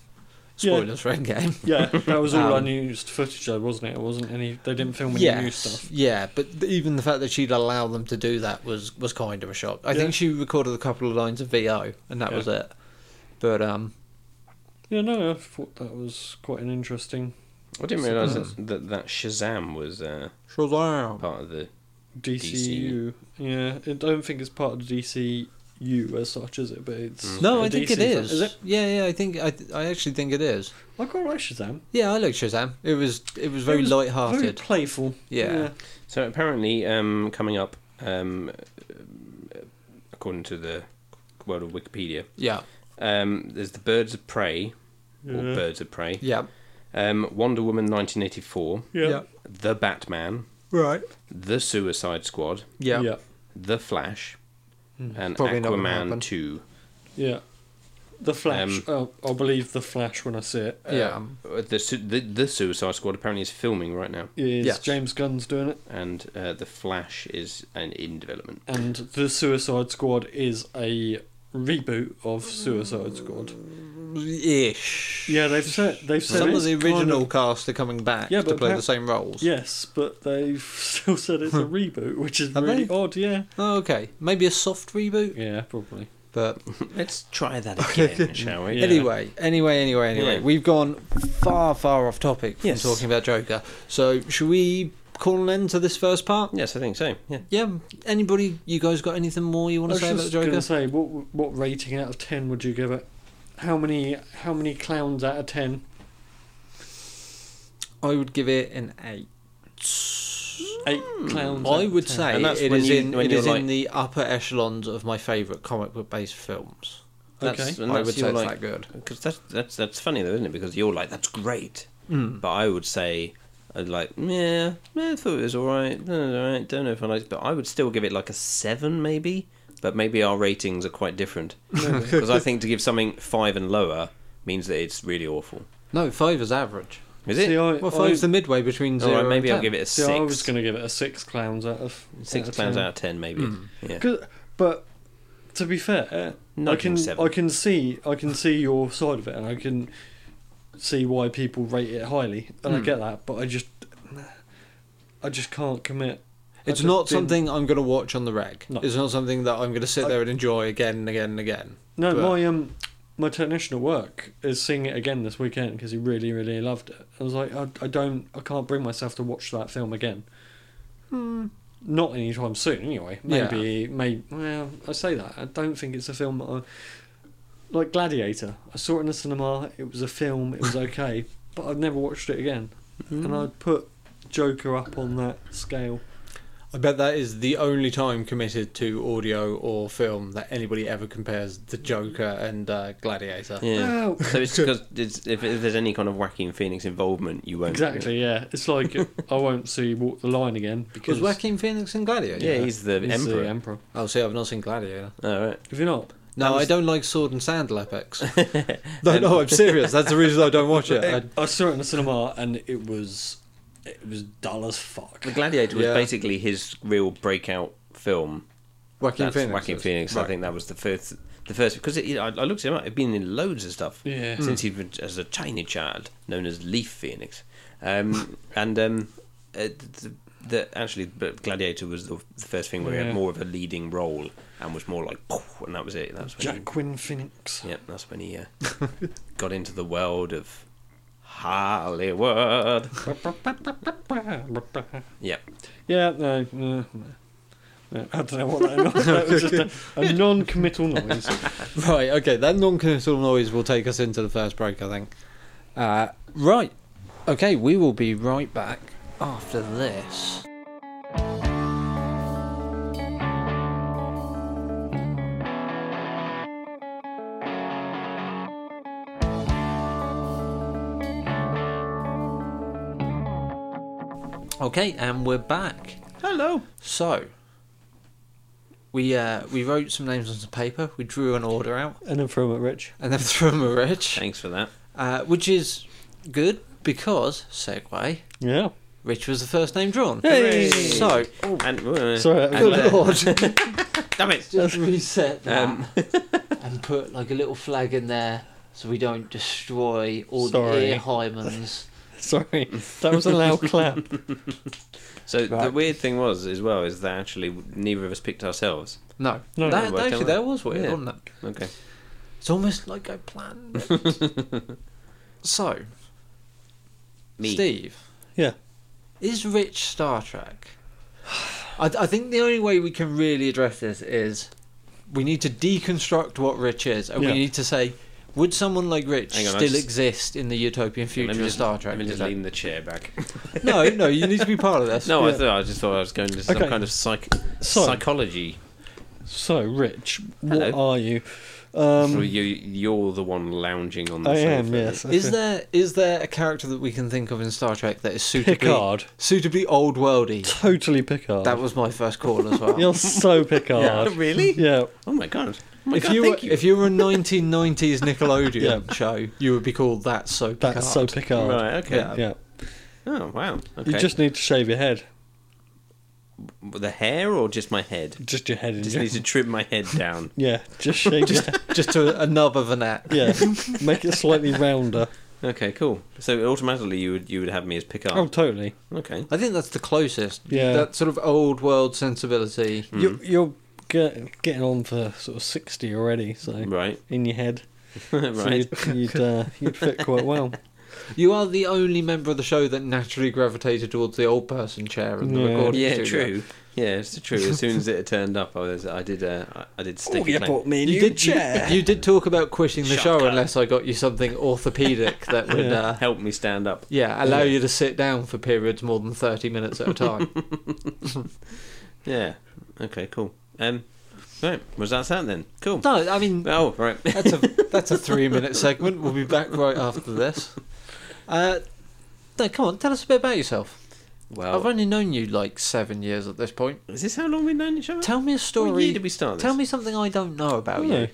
S3: Yeah.
S2: Spoilers for Endgame.
S3: yeah, that was all
S2: Um,
S3: unused footage, though, wasn't it? It wasn't any. They didn't film any new
S2: Yes,
S3: stuff.
S2: yeah, but th- even the fact that she'd allow them to do that was was kind of a shock. I
S3: Yeah.
S2: think she recorded a couple of lines of VO, and that
S3: Yeah.
S2: was it. But um,
S3: Yeah, no, I thought that was quite an interesting
S4: I didn't realise that, that that Shazam was uh,
S2: Shazam.
S4: part of the.
S3: DCU. Yeah, I don't think it's part of the DCU as such, is it? But it's
S2: No,
S3: a
S2: I think
S3: DC
S2: it
S3: film.
S2: is.
S3: Is it?
S2: Yeah, yeah, I think I, th- I actually think it is.
S3: I quite like Shazam.
S2: Yeah, I like Shazam. It was it was very
S3: It was Very
S2: light-hearted.
S3: playful.
S2: Yeah.
S4: So apparently, um, coming up, um, according to the world of Wikipedia,
S2: Yeah,
S4: um, there's the Birds of Prey,
S3: Yeah.
S4: or Birds of Prey,
S2: yeah,
S4: um, Wonder Woman 1984,
S3: Yeah.
S2: Yeah.
S4: The Batman,
S2: right.
S4: The Suicide Squad,
S2: Yeah,
S3: Yeah.
S4: The Flash, and
S2: Probably not gonna happen.
S4: Aquaman 2.
S3: Yeah. The Flash.
S4: Um,
S3: oh, I'll believe the Flash when I see it.
S2: yeah.
S3: Um,
S4: Uh, the, su- the the Suicide Squad apparently is filming right now,
S3: Is
S2: Yes.
S3: James Gunn's doing it,
S4: and uh, the Flash is an, in development.
S3: and the Suicide Squad is a reboot of Suicide Squad.
S2: ish.
S3: Yeah, they've said they've said
S2: Some of
S3: it's
S2: the
S3: kind
S2: original cast are coming back
S3: Yeah,
S2: to
S3: but
S2: play
S3: perha-
S2: the same roles.
S3: Yes, but they've still said it's a reboot, which is
S2: Hmm. Have
S3: really
S2: they?
S3: odd. Yeah.
S2: Oh, okay. Maybe a soft reboot,
S3: Yeah, probably.
S2: but
S4: Let's try that again, shall we?
S3: Yeah.
S2: Anyway, anyway, anyway, anyway,
S4: Yeah.
S2: we've gone far, far off topic from
S4: Yes.
S2: talking about Joker. So, should we call an end to this first part?
S4: Yes, I think so. Yeah.
S2: Yeah. Anybody, you guys got anything more you want to
S3: I
S2: say
S3: was
S2: about
S3: just gonna
S2: Joker?
S3: say, what what rating out of ten would you give it? How many how many clowns out of ten?
S2: I would give it an eight.
S3: Eight clowns. out
S2: I
S3: of
S2: would
S3: 10.
S2: say
S4: And that's
S2: it
S4: when
S2: is
S4: you-
S2: in
S4: when
S2: it
S4: you're
S2: is
S4: like-
S2: in the upper echelons of my favourite comic book based films. That's,
S3: Okay.
S4: And
S2: I
S4: that's
S2: would say
S4: your,
S2: it's
S4: like-
S2: that good.
S4: Because that's that's that's funny though, isn't it? Because you're like, that's great,
S2: Mm.
S4: but I would say, I'd like, yeah, yeah, I thought it was all right. No, no, all right. Don't know if I liked, it, but I would still give it like a seven, maybe. But maybe our ratings are quite different because I think to give something five and lower means that it's really awful.
S2: No, five is average.
S4: Is
S3: See,
S4: it?
S3: I,
S2: Well,
S3: I,
S2: five's the midway between
S4: all
S2: zero.
S4: right, maybe
S2: and
S4: I'll give it a
S3: see,
S4: six.
S3: I was going to give it a six clowns out of
S4: Six
S3: out of
S4: clowns
S3: 10.
S4: out of ten, maybe. Yeah.
S3: 'Cause- But to be fair, I
S4: Nudging
S3: can
S4: seven.
S3: I can see I can see your side of it, and I can see why people rate it highly, and I
S2: Mm.
S3: get that. But I just I just can't commit. I
S2: It's
S3: just
S2: not
S3: didn't-
S2: something I'm going to watch on the reg.
S3: No.
S2: It's not something that I'm going to sit
S3: I-
S2: there and enjoy again and again and again.
S3: No,
S2: But-
S3: my um, my technician at work is seeing it again this weekend because he really, really loved it. I was like, I, I don't, I can't bring myself to watch that film again. Not anytime soon, anyway.
S2: Yeah.
S3: Maybe, maybe. Well, I say that. I don't think it's a film. That I, like Gladiator, I saw it in the cinema. It was a film. It was okay, but I've never watched it again. And I'd put Joker up on that scale.
S2: I bet that is the only time committed to audio or film that anybody ever compares the Joker and uh, Gladiator.
S4: Yeah.
S3: Well,
S4: So it's because it's, if, if there's any kind of Wacky and Phoenix involvement, you won't.
S3: exactly. Yeah, it's like I won't see Walk the Line again
S2: Was
S3: because
S2: Joaquin Phoenix in Gladiator?
S4: Yeah, he's the
S3: He's
S4: emperor.
S3: The emperor.
S2: Oh, see, I've not seen Gladiator.
S4: All right.
S3: If you're not,
S2: No,
S4: was-
S2: I don't like sword and sandal epics. no, no, I'm serious. That's the reason I don't watch it. I,
S3: I saw it in the cinema and it was it was dull as fuck.
S4: The Gladiator was
S2: Yeah.
S4: basically his real breakout film.
S2: Joaquin
S4: That's
S2: Phoenix.
S4: Joaquin
S2: is-
S4: Phoenix. I
S2: right.
S4: think that was the first, the first because it, I, I looked him up. He'd been in loads of stuff
S2: Hmm.
S3: Yeah.
S4: since he was as a tiny child, known as Leaf Phoenix, um, and um, uh, the, the, actually, but Gladiator was the, the first thing where he
S3: Yeah.
S4: had more of a leading role and was more like, "Poof," and that was it. That's when
S3: Jacqueline Phoenix.
S4: He, yeah, that's when he uh, got into the world of Hollywood.
S3: yeah, no,
S4: Yep.
S3: no, no. Yeah, I don't know what that noise. That was just a, a non-committal noise.
S2: Right, okay, that non committal noise will take us into the first break, I think. Uh, right, okay, we will be right back after this. Okay, and we're back.
S3: Hello.
S2: So, we uh, we wrote some names on some paper, we drew an order out,
S3: And then throw 'em at Rich.
S2: and then threw them a Rich.
S4: Thanks for that.
S2: Uh, which is good because segue.
S3: Yeah.
S2: Rich was the first name drawn.
S3: Hey!
S2: So
S4: And, uh,
S3: Sorry, that was
S4: and,
S3: a
S4: uh,
S3: bit-
S2: lord,
S4: damn it!
S2: just reset that
S4: Um,
S2: and put like a little flag in there so we don't destroy all
S3: Sorry.
S2: the ear hymens.
S3: Sorry. That was a loud clap.
S4: So the
S2: Right.
S4: weird thing was as well is that actually neither of us picked ourselves.
S2: No,
S3: No,
S2: that,
S4: no,
S2: actually
S4: whatever.
S2: that was weird,
S4: Yeah.
S2: wasn't it?
S4: Okay.
S2: It's almost like I planned. it. so,
S4: Me.
S2: Steve.
S3: Yeah.
S2: Is Rich Star Trek? I, I think the only way we can really address this is we need to deconstruct what Rich is, and
S3: Yeah.
S2: we need to say, would someone like Rich
S4: Hang on, I
S2: still
S4: just-
S2: exist in the utopian future
S4: Let me
S2: of
S4: just-
S2: Star Trek?
S4: Let me just
S2: Is that-
S4: lean the chair back.
S2: no, no, you need to be part of this.
S4: No, I
S3: Yeah.
S4: thought I just thought I was going to some
S3: Okay.
S4: kind of psych
S3: So-
S4: psychology.
S3: So, Rich, what
S4: Hello.
S3: are you?
S4: So
S3: Um,
S4: you you're the one lounging on the
S3: I
S4: sofa.
S3: am, yes.
S2: Is there is there a character that we can think of in Star Trek that is suitably
S3: Picard?
S2: suitably old worldy?
S3: Totally Picard.
S2: That was my first call as well.
S4: Oh
S3: You're so Picard.
S4: Yeah, really?
S3: Yeah.
S4: Oh my god. Oh my
S2: if
S4: god,
S2: you were
S4: thank you.
S2: if you were a 1990s Nickelodeon show, you would be called that so Picard.
S3: That's so Picard.
S4: Right, okay.
S2: Yeah.
S3: Yeah.
S4: Oh wow. Okay.
S3: You just need to shave your head.
S4: the hair or just my head?
S3: Just your head in
S4: Just
S3: general.
S4: need to trim my head down.
S3: Yeah, just shave your head.
S2: just to a nub of an app.
S3: Yeah. Make it slightly rounder.
S4: Okay, cool. So automatically you would you would have me as Picard.
S3: Oh, totally.
S4: Okay.
S2: I think that's the closest.
S3: Yeah.
S2: That sort of old world sensibility.
S4: hmm.
S3: You, you're get, getting on for sort of 60 already, so
S4: Right.
S3: in your head. So
S4: right.
S3: you'd, you'd, uh, you'd fit quite well.
S2: You are the only member of the show that naturally gravitated towards the old person chair in the
S3: Yeah.
S2: recording
S4: Yeah,
S2: studio.
S4: true. Yeah, it's true. As soon as it had turned up, I was I did uh, I- I did
S2: Oh,
S4: stick. a claim.
S3: me
S2: You did, you, you did talk about quitting the show
S4: Shotgun.
S2: unless I got you something orthopedic that would,
S3: Yeah.
S2: uh,
S4: Help me stand up.
S2: yeah, allow you to sit down for periods more than 30 minutes at a time.
S4: Yeah. Okay. Cool. Um. Right. Was that that then? Cool.
S2: no, I mean,
S4: Oh right.
S2: That's a that's a three minute segment. We'll be back right after this. Uh, no, come on, tell us a bit about yourself. I've
S4: Well,
S2: only known you like seven years at this point.
S4: is this how long we've known each other?
S2: Tell me a story.
S4: What year did we start? This?
S2: Tell me something I don't know
S4: Oh,
S2: about you.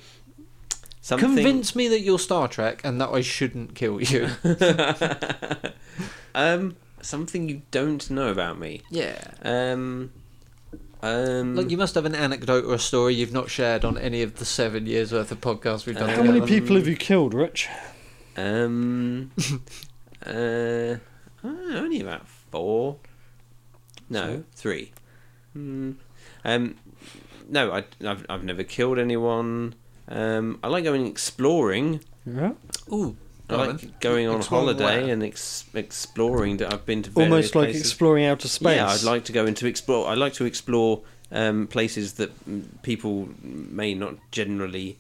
S4: something.
S2: Convince me that you're Star Trek and that I shouldn't kill you.
S4: um, something you don't know about me.
S2: yeah.
S4: Um, um.
S2: Look, you must have an anecdote or a story you've not shared on any of the seven years worth of podcasts we've done.
S4: Uh,
S3: How many
S2: together.
S3: people have you killed, Rich?
S4: Um. uh. I don't know, only about four. No,
S3: So?
S4: three. Hmm. Um. No, I, I've I've never killed anyone. Um. I like going exploring.
S3: Yeah.
S2: Ooh.
S4: I
S2: Right.
S4: like going on
S2: Exploring
S4: holiday
S2: where?
S4: and ex- exploring. that I've been to various
S3: Almost like
S4: places.
S3: exploring outer space.
S4: Yeah, I'd like to go into explore. I like to explore um, places that mm, people may not generally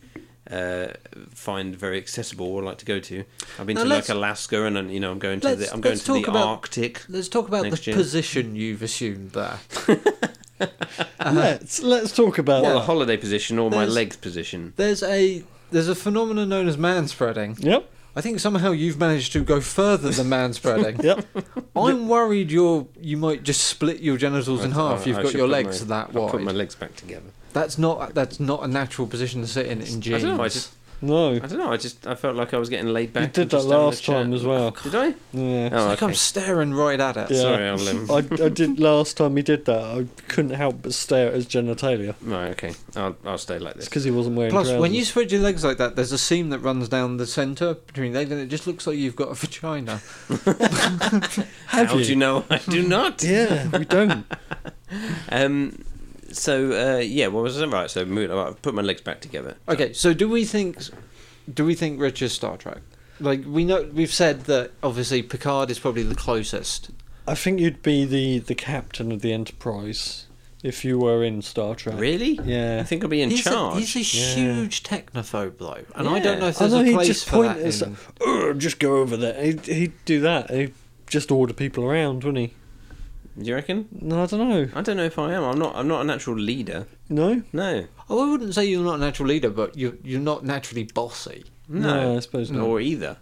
S4: uh, find very accessible or like to go to. I've been
S2: Now
S4: to
S2: let's-
S4: like Alaska, and uh, you know, I'm going to
S2: let's-
S4: the I'm going
S2: let's
S4: to the
S2: talk about-
S4: Arctic.
S2: Let's talk about
S4: Next
S2: the
S4: year.
S2: position you've assumed there. Uh-huh. Uh,
S3: Let's let's talk about
S4: Well, the
S3: that.
S4: holiday position or my
S2: There's-
S4: legs position.
S2: There's a there's a phenomenon known as manspreading.
S3: Yep.
S2: I think somehow you've managed to go further than manspreading.
S3: Yep.
S2: I'm worried you're you might just split your genitals in
S4: I-
S2: half.
S4: I-
S2: You've
S4: I
S2: got
S4: should
S2: your
S4: put
S2: legs
S4: my-
S2: that
S4: I'll put
S2: wide.
S4: my legs back together.
S2: that's not that's not a natural position to sit in in
S4: I
S2: jeans.
S4: don't know, I just-
S3: No.
S4: I don't know. I just I felt like I was getting laid back.
S3: You
S4: and
S3: did that
S4: just having a
S3: last time
S4: chat.
S3: as well.
S4: Did I?
S3: Yeah.
S2: It's
S4: Oh,
S2: like
S4: okay.
S2: I'm staring right at it.
S3: Yeah.
S4: Sorry, I'll, um,
S3: I, I did last time he did that. I couldn't help but stare at his genitalia.
S4: Right, okay. I'll, I'll stay like
S3: It's
S4: this.
S3: because he wasn't wearing
S2: Plus,
S3: trousers.
S2: when you spread your legs like that, there's a seam that runs down the centre between legs, and it just looks like you've got a vagina.
S3: have
S4: How
S3: you?
S4: do you know I do not?
S3: Yeah, we don't.
S4: Um, so uh, yeah, what was it? Right, so move, I put my legs back together.
S2: Okay, so do we think do we think Rich is Star Trek? Like we know we've said that obviously Picard is probably the closest.
S3: I think you'd be the the captain of the Enterprise. if you were in Star Trek.
S4: Really? I
S3: Yeah.
S4: think I'll be in
S2: he's
S4: charge.
S2: A, he's a
S3: Yeah.
S2: huge technophobe bloke, and I
S4: Yeah.
S2: don't know if
S3: I
S2: there's
S3: know
S2: a
S3: he'd
S2: place
S3: just
S2: for
S3: point
S2: that.
S3: us.
S2: in-
S3: "Ugh, Just go over there. He'd, he'd do that. He'd just order people around, wouldn't he?
S4: Do you reckon?
S3: No, I don't know.
S4: I don't know if I am. I'm not. I'm not a natural leader.
S3: No?
S4: No.
S2: Oh, I wouldn't say you're not a natural leader, but you you're not naturally bossy.
S4: No.
S3: I suppose not.
S4: Or either.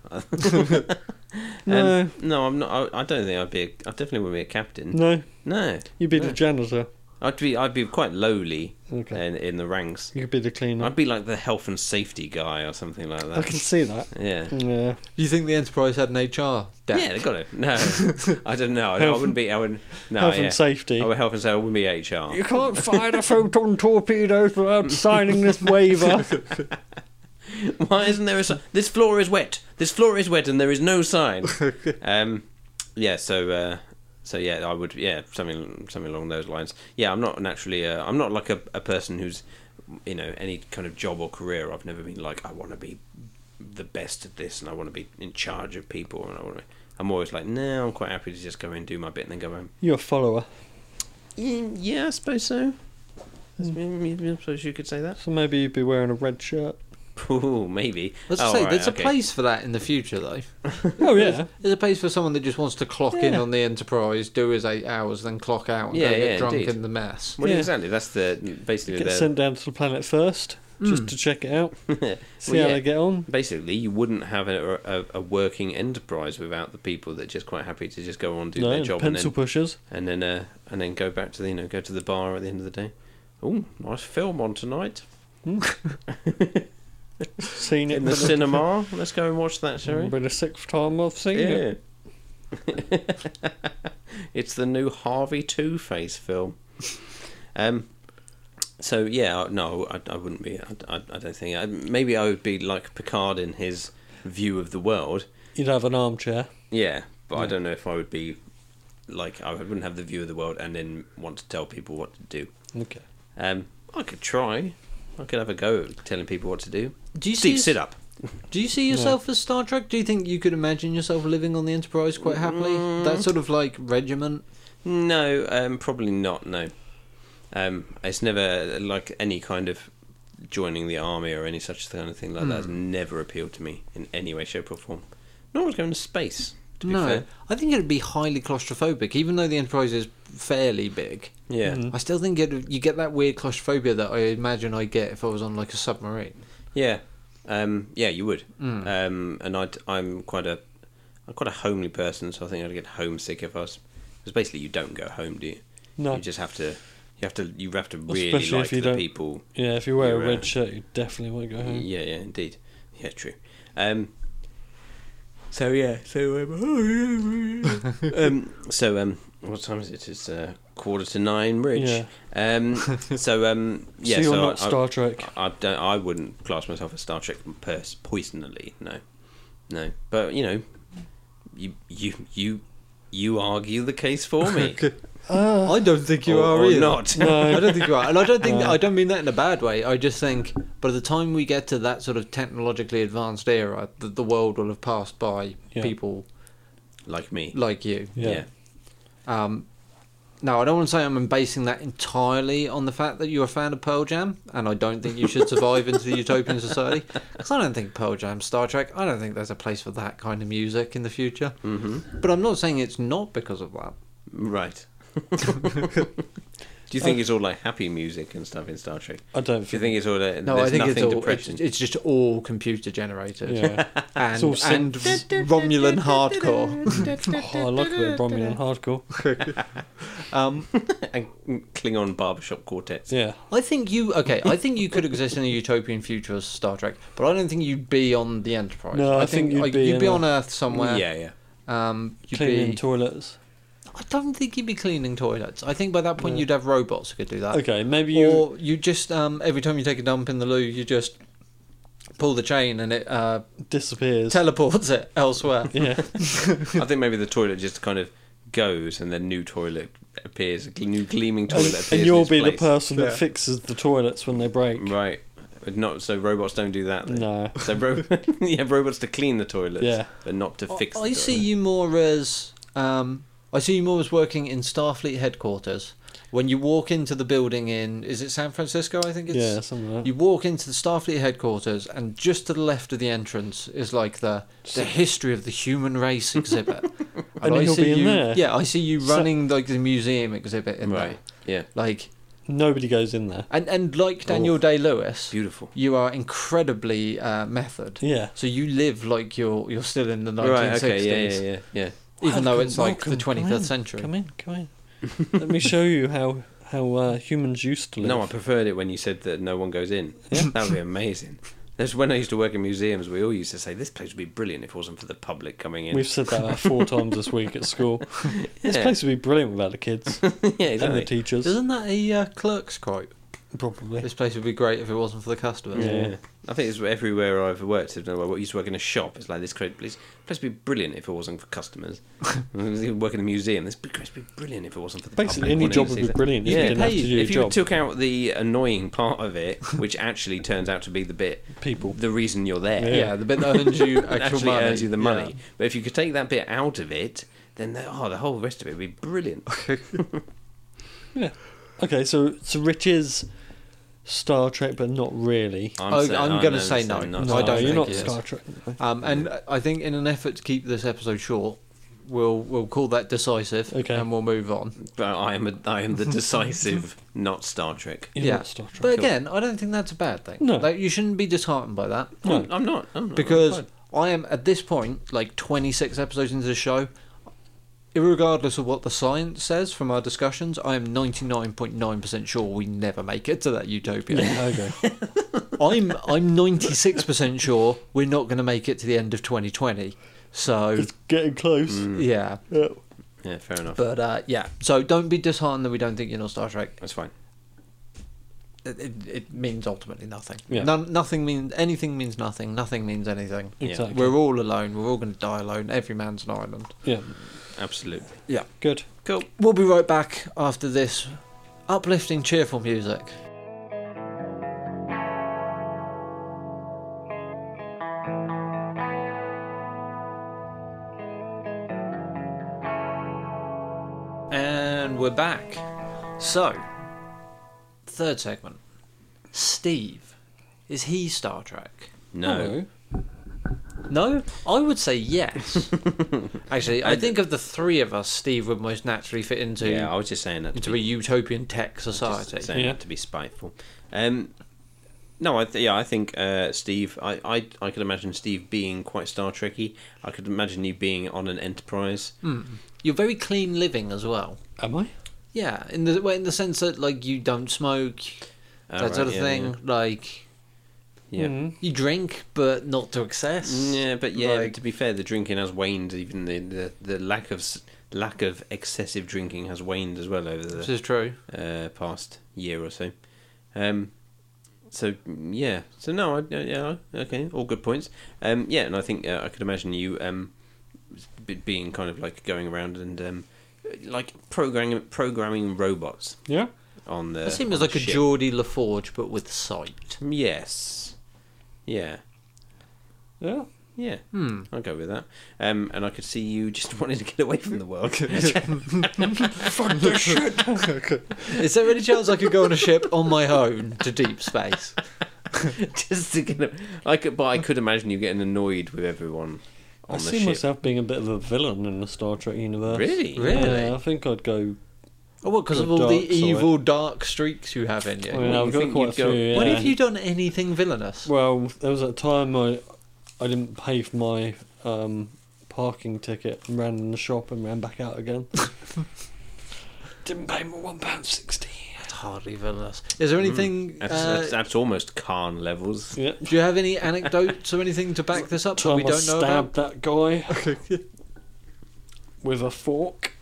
S3: No.
S4: Um, no, I'm not. I, I don't think I'd be. A, I definitely wouldn't be a captain.
S3: No,
S4: No.
S3: you'd be
S4: No.
S3: the janitor.
S4: I'd be. I'd be quite lowly
S3: Okay.
S4: in, in the ranks.
S3: You could be the cleaner.
S4: I'd be like the health and safety guy or something like that.
S3: I can see that.
S4: Yeah.
S3: Yeah.
S2: You think the Enterprise had an HR? Deck?
S4: Yeah, they got it. No, I don't know. I, I wouldn't be. I wouldn't. No,
S3: Health
S4: yeah. Oh,
S3: and safety.
S4: I would health and safety. I wouldn't be HR.
S3: You can't fire a photon torpedo without signing this waiver.
S4: Why isn't there a sign? This floor is wet. This floor is wet, and there is no sign. um, yeah. So, uh, so yeah, I would. Yeah, something, something along those lines. Yeah, I'm not naturally. Uh, I'm not like a, a person who's, you know, any kind of job or career. I've never been like I want to be the best at this, and I want to be in charge of people, and I want to. I'm always like, no, I'm quite happy to just go in, do my bit, and then go home.
S3: You're a follower.
S4: Mm, Yeah, I suppose so. I suppose- I suppose you could say that.
S3: So maybe you'd be wearing a red shirt.
S4: Ooh, maybe.
S2: Let's
S4: Oh,
S2: say
S4: right,
S2: there's
S4: okay.
S2: a place for that in the future, though.
S3: Oh, yeah.
S2: There's a place for someone that just wants to clock in
S3: Yeah.
S2: on the Enterprise, do his eight hours, then clock out and
S4: Yeah,
S2: go get
S4: yeah,
S2: drunk
S4: indeed.
S2: in the mess.
S4: Well,
S3: Yeah.
S4: exactly. That's the basically
S3: Get
S4: the
S3: sent down to the planet first, just
S2: Mm.
S3: to check it out,
S4: Hmm. Well,
S3: see how
S4: yeah.
S3: they get on.
S4: basically you wouldn't have a, a, a working enterprise without the people that are just quite happy to just go on do
S3: no,
S4: their
S3: and
S4: job and
S3: pencil
S4: then
S3: pushers.
S4: and then uh, and then go back to the you know go to the bar at the end of the day. Oh, nice film on tonight
S3: Seen it
S4: in the
S3: for
S4: cinema. Let's go and watch that, shall we?
S3: By the sixth time I've seen it.
S4: Yeah. it's the new Harvey Two Face film. Um. So yeah, I- no, I, I wouldn't be. I, I, I don't think. I, maybe I would be like Picard in his view of the world.
S3: You'd have an armchair.
S4: Yeah, but I
S3: Yeah.
S4: don't know if I would be like I wouldn't have the view of the world and then want to tell people what to do.
S3: Okay.
S4: Um, I could try. I could have a go at telling people what to do.
S2: Do you see?
S4: Steve, sit up.
S2: Do you see yourself as Star Trek? Do you think you could imagine yourself living on the Enterprise quite happily? That sort of like regiment.
S4: No, um, probably not. No, um, it's never like any kind of joining the army or any such kind of thing like that. Has
S3: Hmm.
S4: never appealed to me in any way, shape, or form. Nor was going to space. To be
S2: no,
S4: fair,
S2: I think it'd be highly claustrophobic, even though the Enterprise is fairly big.
S4: yeah,
S3: Mm.
S2: I still think it, you get that weird claustrophobia that I imagine I get if I was on like a submarine.
S4: yeah, um, yeah. You would.
S3: Hmm.
S2: Mm.
S4: Um, and I'd, I'm quite a, I'm quite a homely person, so I think I'd get homesick if I was. Because basically, you don't go home, do you?
S3: No.
S4: You just have to. You have to. You have to really
S3: Especially if
S4: like
S3: you
S4: the
S3: don't-
S4: people.
S3: yeah, if you wear
S4: You're,
S3: a red
S4: uh,
S3: shirt, you definitely won't go home.
S4: Yeah, yeah, indeed. Yeah, true. Um, so yeah, so um, um, so um, what time is it? It's uh, quarter to nine, Rich.
S3: Yeah.
S4: Um, so um, yeah,
S3: so
S4: so,
S3: you're not
S4: I,
S3: Star Trek.
S4: I, I don't. I wouldn't class myself as Star Trek pers- personally. No, no. But you know, you you you you argue the case for me.
S3: Ah,
S2: I don't think you
S4: Or-
S2: are
S4: or
S2: either.
S4: not. Uh.
S3: No.
S2: I don't think you are, and I don't think
S3: No.
S2: I don't mean that in a bad way. I just think by the time we get to that sort of technologically advanced era, the, the world will have passed by
S3: Yeah.
S2: people
S4: like me.
S2: like you.
S3: Yeah.
S4: yeah.
S2: Um, now, I don't want to say I'm basing that entirely on the fact that you're a fan of Pearl Jam, and I don't think you should survive into the utopian society. Because I don't think Pearl Jam, Star Trek, I don't think there's a place for that kind of music in the future.
S4: hmm
S2: But I'm not saying it's not because of that.
S4: Right. Do you think it's all like happy music and stuff in Star Trek?
S3: I don't
S4: Do you think it's all uh,
S2: No,
S4: there's
S2: I think
S4: nothing
S2: it's all
S4: depressing?
S2: it's, it's just all computer generated
S3: Yeah.
S2: and,
S3: It's all synth.
S2: and Romulan hardcore.
S3: oh, I like a bit of Romulan hardcore.
S2: Um,
S4: and Klingon barbershop quartets.
S3: Yeah.
S2: I think you okay. I think you could exist in a utopian future as Star Trek, but I don't think you'd be on the Enterprise.
S3: No, I think you'd be
S2: you'd be
S3: in a-
S2: on Earth somewhere.
S4: Yeah, yeah.
S2: Um, you'd
S3: Cleaning
S2: be.
S3: toilets.
S2: I don't think you'd be cleaning toilets. I think by that point
S3: No.
S2: you'd have robots who could
S4: Uh,
S2: do that.
S3: Okay, maybe you.
S2: Or you just um, every time you take a dump in the loo, you just pull the chain and it uh,
S3: disappears.
S2: teleports it elsewhere.
S3: yeah.
S4: I think maybe the toilet just kind of goes and then new toilet appears, a new gleaming toilet
S3: and,
S4: appears.
S3: and
S4: in
S3: you'll
S4: its
S3: be the
S4: place.
S3: person
S2: Yeah.
S3: that fixes the toilets when they break.
S4: Right. But not so robots don't do that. Then.
S3: No.
S4: So ro- you have robots to clean the toilets,
S3: Yeah.
S4: but not to fix.
S2: I,
S4: the
S2: I see
S4: toilet.
S2: you more as um, I see you more as working in Starfleet headquarters When you walk into the building in, is it San Francisco? I think it's.
S3: yeah, something like that.
S2: You walk into the Starfleet headquarters, and just to the left of the entrance is like the the history of the human race exhibit. and,
S3: And he'll
S2: see
S3: be in
S2: you,
S3: there.
S2: Yeah, I see you
S3: So-
S2: running like the museum exhibit in there.
S4: Right. Yeah.
S2: Like
S3: Nobody goes in there.
S2: and and like Daniel
S4: Oh.
S2: Day Lewis,
S4: Beautiful.
S2: you are incredibly uh, method.
S3: Yeah.
S2: So you live like you're you're still in the 1960s,
S4: Right. Okay. Yeah. Yeah. Yeah. Yeah.
S2: even though
S3: Welcome,
S2: it's like the
S3: welcome, come
S2: 25th
S3: in,
S2: century.
S3: Come in, come in. Let me show you how how uh, humans used to live.
S4: No, I preferred it when you said that no one goes in. That would be amazing. That's when I used to work in museums. We all used to say this place would be brilliant if it wasn't for the public coming in.
S3: We've said that about four times this week at school. This
S4: Yeah.
S3: place would be brilliant without the kids
S4: yeah,
S3: and the
S4: exactly.
S3: teachers.
S2: Isn't that a uh, clerk's quote?
S3: Probably.
S2: This place would be great if it wasn't for the customers.
S3: Yeah.
S4: Yeah. I think it's everywhere I've worked. I don't know, I used to work in a shop. It's like this great place. Place would be brilliant if it wasn't for customers. work in a museum. This place would be brilliant if it wasn't for the
S3: Basically,
S4: public
S3: any
S4: wanting
S3: job
S4: to
S3: would
S4: see
S3: be
S4: that.
S3: brilliant if
S4: Yeah,
S3: you didn't have to
S4: paid-
S3: do your
S4: if you
S3: job.
S4: took out the annoying part of it, which actually turns out to be the bit,
S3: People.
S4: the reason you're there,
S2: Yeah, the bit that earns you
S4: that
S2: actual
S4: actually
S2: money.
S4: earns you the
S2: Yeah.
S4: money. But if you could take that bit out of it, then the, oh, the whole rest of it would be brilliant.
S3: Yeah. Okay, so so Rich is Star Trek, but not really.
S2: I-
S4: saying-
S2: I'm
S4: I
S2: gonna
S4: know
S2: say
S4: this,
S2: no.
S4: I'm
S2: No,
S4: not
S2: I
S4: saying
S2: don't
S4: it.
S3: You're
S2: think
S3: not
S2: he is.
S3: Star Trek.
S2: Um, and I think in an effort to keep this episode short, we'll we'll call that decisive
S3: Okay.
S2: and we'll move on.
S4: But I am, a, I am the decisive, not Star Trek.
S3: You're
S2: yeah.
S3: not Star Trek.
S2: But again, I don't think that's a bad thing.
S3: No.
S2: Like you shouldn't be disheartened by that.
S3: No.
S4: I'm not. I'm not
S2: Because
S4: I'm fine.
S2: I am at this point, like twenty six episodes into the show, irregardless of what the science says from our discussions, I am ninety nine point nine percent sure we never make it to that utopia.
S3: Yeah, okay.
S2: I'm I'm ninety six percent sure we're not gonna make it to the end of twenty twenty. So
S3: it's getting close.
S2: yeah.
S3: Yeah.
S4: yeah, fair enough.
S2: But uh, yeah, so don't be disheartened that we don't think you're not Star Trek.
S4: That's fine.
S2: It, it, it means ultimately nothing.
S3: Yeah.
S2: None, nothing means anything means nothing. Nothing means anything.
S4: Yeah.
S3: Exactly.
S2: We're all alone. We're all going to die alone. Every man's an island.
S3: yeah.
S4: Absolutely.
S2: Yeah.
S3: Good.
S4: Cool.
S2: We'll be right back after this uplifting, cheerful music. And we're back. So, third segment. Steve. Is he Star Trek?
S4: No.
S2: No? I would say yes. Actually, I think of the three of us, Steve would most naturally fit into
S4: Yeah, I was just saying that. To
S2: into a
S4: be,
S2: utopian tech
S4: just
S2: society.
S4: saying
S3: Yeah.
S4: that to be spiteful. Um, no, I th- yeah, I think uh, Steve. I, I I could imagine Steve being quite Star Trekky. I could imagine you being on an Enterprise.
S2: Hmm. You're very clean living as well.
S3: Am I?
S2: Yeah, in the well, in the sense that like you don't smoke,
S4: Oh,
S2: that
S4: right,
S2: sort of
S4: yeah,
S2: thing. Like
S4: Yeah. Yeah.
S3: Mhm.
S2: you drink, but not to excess.
S4: Mm, Yeah, but yeah.
S2: Like-
S4: to be fair, the drinking has waned. Even the, the, the lack of s- lack of excessive drinking has waned as well over
S2: This
S4: the
S2: is true.
S4: uh, past year or so. Um, so yeah, so no, I, uh, yeah, okay, all good points. Um, yeah, and I think uh, I could imagine you um, b- being kind of like going around and um, like programming programming robots
S3: Yeah.
S4: on the.
S2: That
S4: on
S2: seems
S4: the
S2: like a
S4: ship.
S2: Geordie LaForge, but with sight.
S4: Yes. Yeah.
S3: Yeah.
S4: Yeah.
S2: Hmm.
S4: I'll go with that. Um, and I could see you just wanting to get away from the world.
S2: Fuck this shit. Is there any chance I could go on a ship on my own to deep space?
S4: just to get a- I could, but I could imagine you getting annoyed with everyone on
S3: I
S4: the
S3: see
S4: ship.
S3: myself being a bit of a villain in the Star Trek universe.
S4: Really?
S2: Really?
S3: Yeah, I think I'd go.
S2: Oh, what? Because of
S3: The
S2: all
S3: dark
S2: the
S3: side.
S2: evil, dark streaks you have in you.
S3: I mean,
S4: you
S3: I've got
S4: think
S3: quite a
S4: you'd
S3: few.
S4: go-
S3: yeah.
S2: When have you done anything villainous?
S3: Well, there was a time I, I didn't pay for my um, parking ticket and ran in the shop and ran back out again. didn't pay my one pound sixty.
S2: It's hardly villainous. Is
S4: Hmm.
S2: there anything?
S4: That's,
S2: uh,
S4: that's, that's almost Khan levels.
S3: Yeah.
S2: do you have any anecdotes or anything to back this up that
S3: Time
S2: we
S3: I
S2: don't know about?
S3: stabbed that guy with a fork.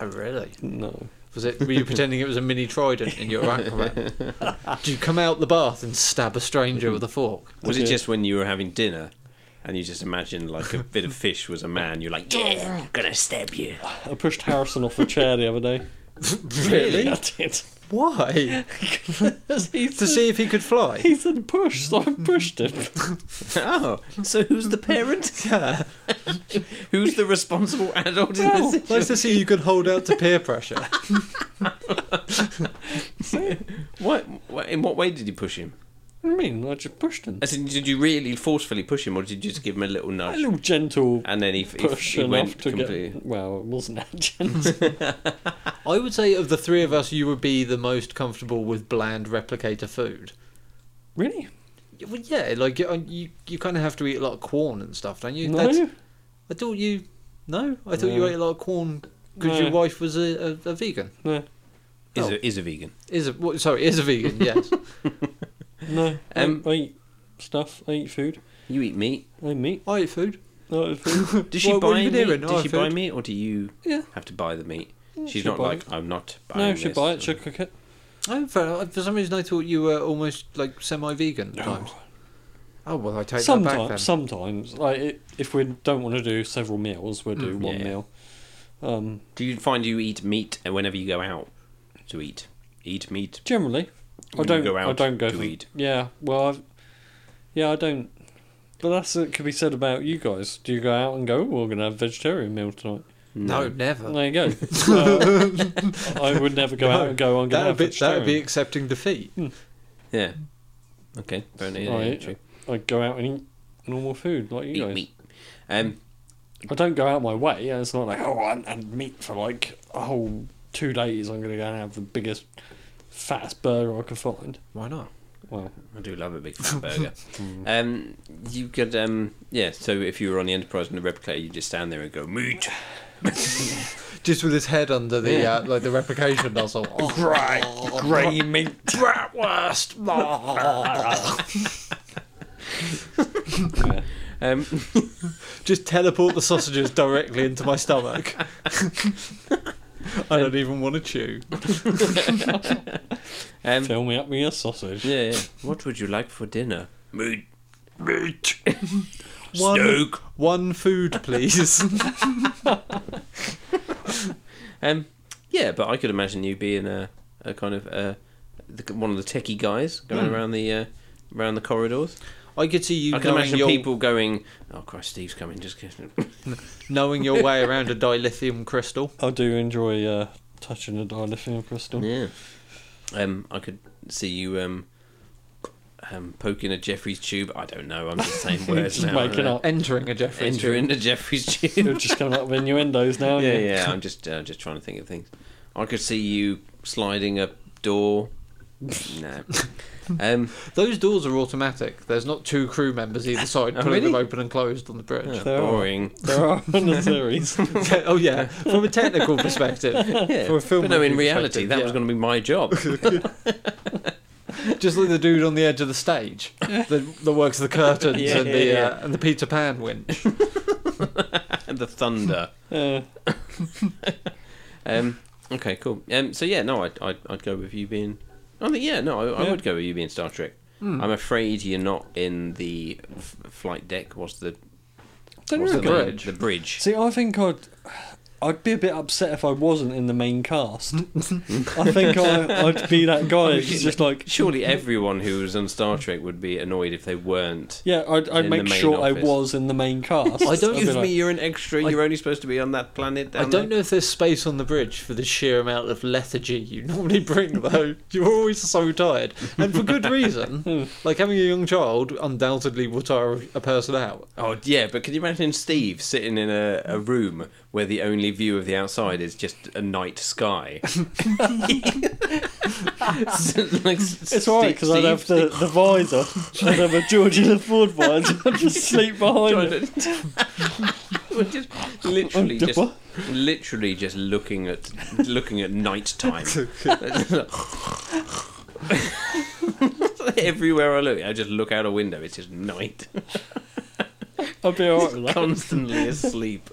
S2: Oh, really?
S3: No.
S2: Was it? Were you pretending it was a mini trident in your Aquaman? do you come out the bath and stab a stranger with a fork?
S4: Was it
S3: Okay.
S4: just when you were having dinner and you just imagined like a bit of fish was a man? You're like, yeah, gonna stab you.
S3: I pushed Harrison off a chair the other day. I did.
S2: Why?
S3: he, said,
S2: to see if he could fly.
S3: he said push, so I pushed him.
S4: Oh, so who's the parent?
S2: Yeah.
S4: Who's the responsible adult in this situation?
S2: nice to see you can hold out to peer pressure.
S4: What, what? In what way did you push him?
S3: What do you mean? I just pushed him.
S4: As in, did you really forcefully push him, or did you just give him a little
S3: A
S4: nudge?
S3: little gentle
S4: And then he, he,
S3: push
S4: he
S3: enough
S4: went
S3: to
S4: completely. Mm.
S3: get. Well, it wasn't that gentle.
S2: I would say of the three of us, you would be the most comfortable with bland replicator food.
S3: really?
S2: Well, yeah, like you, uh, you, you kind of have to eat a lot of corn and stuff, don't you?
S3: no.
S2: I thought you. No, I thought you
S3: No.
S2: ate a lot of corn because
S3: No.
S2: your wife was a, a, a vegan.
S3: No.
S4: Is,
S2: Oh.
S4: a, is a vegan.
S2: Is a what, sorry, is a vegan? Yes.
S3: No.
S4: Um,
S3: I, I eat stuff. I eat food.
S4: You eat meat.
S3: I eat meat.
S2: I eat food.
S3: I eat food.
S4: Does she
S2: What- what
S4: buy
S2: have you
S4: meat?
S2: been doing?
S4: Does
S2: Oh,
S4: she buy
S2: food.
S4: meat, or do you
S3: Yeah.
S4: have to buy the meat? She's
S3: she
S4: not
S3: buy
S4: like I'm not buying.
S3: no, she
S4: this. Mm.
S3: buy it. She cook it.
S2: Oh, fair enough. For some reason, I thought you were almost like semi-vegan. at Times. Oh well, I take that back then.
S3: Sometimes, sometimes, like it, if we don't want to do several meals, we'll do
S4: Mm,
S3: one
S4: yeah.
S3: meal. Um,
S4: Do you find you eat meat whenever you go out to eat? Eat meat.
S3: generally, I
S4: When you
S3: don't.
S4: go
S3: I
S4: out
S3: don't go
S4: to
S3: for-
S4: eat.
S3: Yeah, well, I've, yeah, I don't. But that's it. Could be said about you guys. Do you go out and go? "Oh, We're gonna have vegetarian meal tonight.
S2: no, never.
S3: There you go. Uh, I would never go out and go. I'm gonna
S2: that
S3: have Hmm.
S2: would be that
S3: vegetarian.
S2: would be accepting defeat.
S4: Yeah. Mm. Okay. Fair enough. Yeah,
S3: Right.
S4: true.
S3: I go out and eat normal food like you
S4: Eat
S3: guys.
S4: meat. Um,
S3: I don't go out my way. Yeah, it's not like oh, I had meat for like a whole two days. I'm gonna go and have the biggest, fattest burger I can find.
S2: Why not?
S3: Well,
S4: I do love a big fat burger. um, you could, um, yeah. So if you were on the Enterprise and the replicator, you just stand there and go meat.
S2: Just with his head under the
S4: Yeah.
S2: uh, like the replication nozzle. Oh,
S3: grey, grey meat.
S2: bratwurst.
S3: Yeah.
S4: Um,
S2: Just teleport the sausages directly into my stomach. I don't even want to chew.
S4: um,
S3: Fill me up with your sausage.
S4: yeah, yeah. What would you like for dinner? Meat. Meat.
S2: One-
S4: Snoke.
S2: One food, please.
S4: Um, yeah, but I could imagine you being a, a kind of uh, the, one of the techie guys going around the uh, around the corridors.
S2: I could see you
S4: I can
S2: knowing
S4: imagine
S2: your
S4: people going, "Oh Christ, Steve's coming!" Just kidding.
S2: knowing your way around a dilithium crystal.
S3: I do enjoy uh, touching a dilithium crystal.
S4: yeah. Um, I could see you um, um, poking a Jeffrey's tube. I don't know. I'm just saying words
S3: Just
S4: now.
S3: making
S4: aren't I?
S3: up.
S2: Entering a Jeffrey's
S4: Enter
S2: tube.
S4: into Jeffrey's
S3: You're
S4: tube.
S3: just coming up with innuendos now.
S4: yeah,
S3: aren't you?
S4: yeah. I'm just uh, just trying to think of things. I could see you sliding a door. no. Um,
S2: Those doors are automatic. There's not two crew members either side
S4: Oh,
S2: pulling them
S4: really?
S2: open and closed on the bridge.
S3: There are.
S4: boring.
S3: There are on the series.
S2: Yeah, oh yeah, from a technical perspective,
S4: Yeah.
S2: from a film.
S4: But no, in
S2: review perspective,
S4: reality, that
S2: yeah.
S4: was going to be my job.
S2: just like the dude on the edge of the stage that, that works the curtains
S4: Yeah,
S2: and
S4: yeah,
S2: the
S4: yeah.
S2: Uh, and the Peter Pan winch.
S4: the thunder.
S3: Uh,
S4: Um, okay, cool. Um, so yeah, no, I'd, I'd, I'd go with you being. I think yeah, no, I, I
S3: Yeah.
S4: would go with you being Star Trek.
S2: Hmm.
S4: I'm afraid you're not in the f- flight deck. What's the
S3: don't
S4: what's
S3: you
S4: the,
S3: reckon?
S4: main-
S2: bridge.
S4: the bridge.
S3: See, I think I'd I'd be a bit upset if I wasn't in the main cast. I think I, I'd be that guy. who's just like
S4: Surely everyone who was on Star Trek would be annoyed if they weren't.
S3: yeah, I'd,
S4: In
S3: I'd
S4: the
S3: make
S4: main
S3: sure I
S4: office.
S3: was in the main cast.
S2: I
S3: I'd be
S2: don't
S4: Excuse
S3: like,
S4: me, you're an extra. you're only supposed to be on that planet.
S2: I
S4: Down
S2: don't know if there's space on the bridge for the sheer amount of lethargy you normally bring, though. You're always so tired, and for good reason. like having a young child undoubtedly will tire a person out.
S4: There? Oh yeah, but can you imagine Steve sitting in a, a room where the only view of the outside is just a night sky?
S3: It's alright because I'd have the, the visor. I'd have a Georgian Ford visor. I'd just sleep behind it.
S4: We're just literally
S3: Oh,
S4: just
S3: what?
S4: literally just looking at looking at night time. Everywhere I look, I just look out a window. It's just night,
S3: I'd be alright with that.
S4: constantly asleep.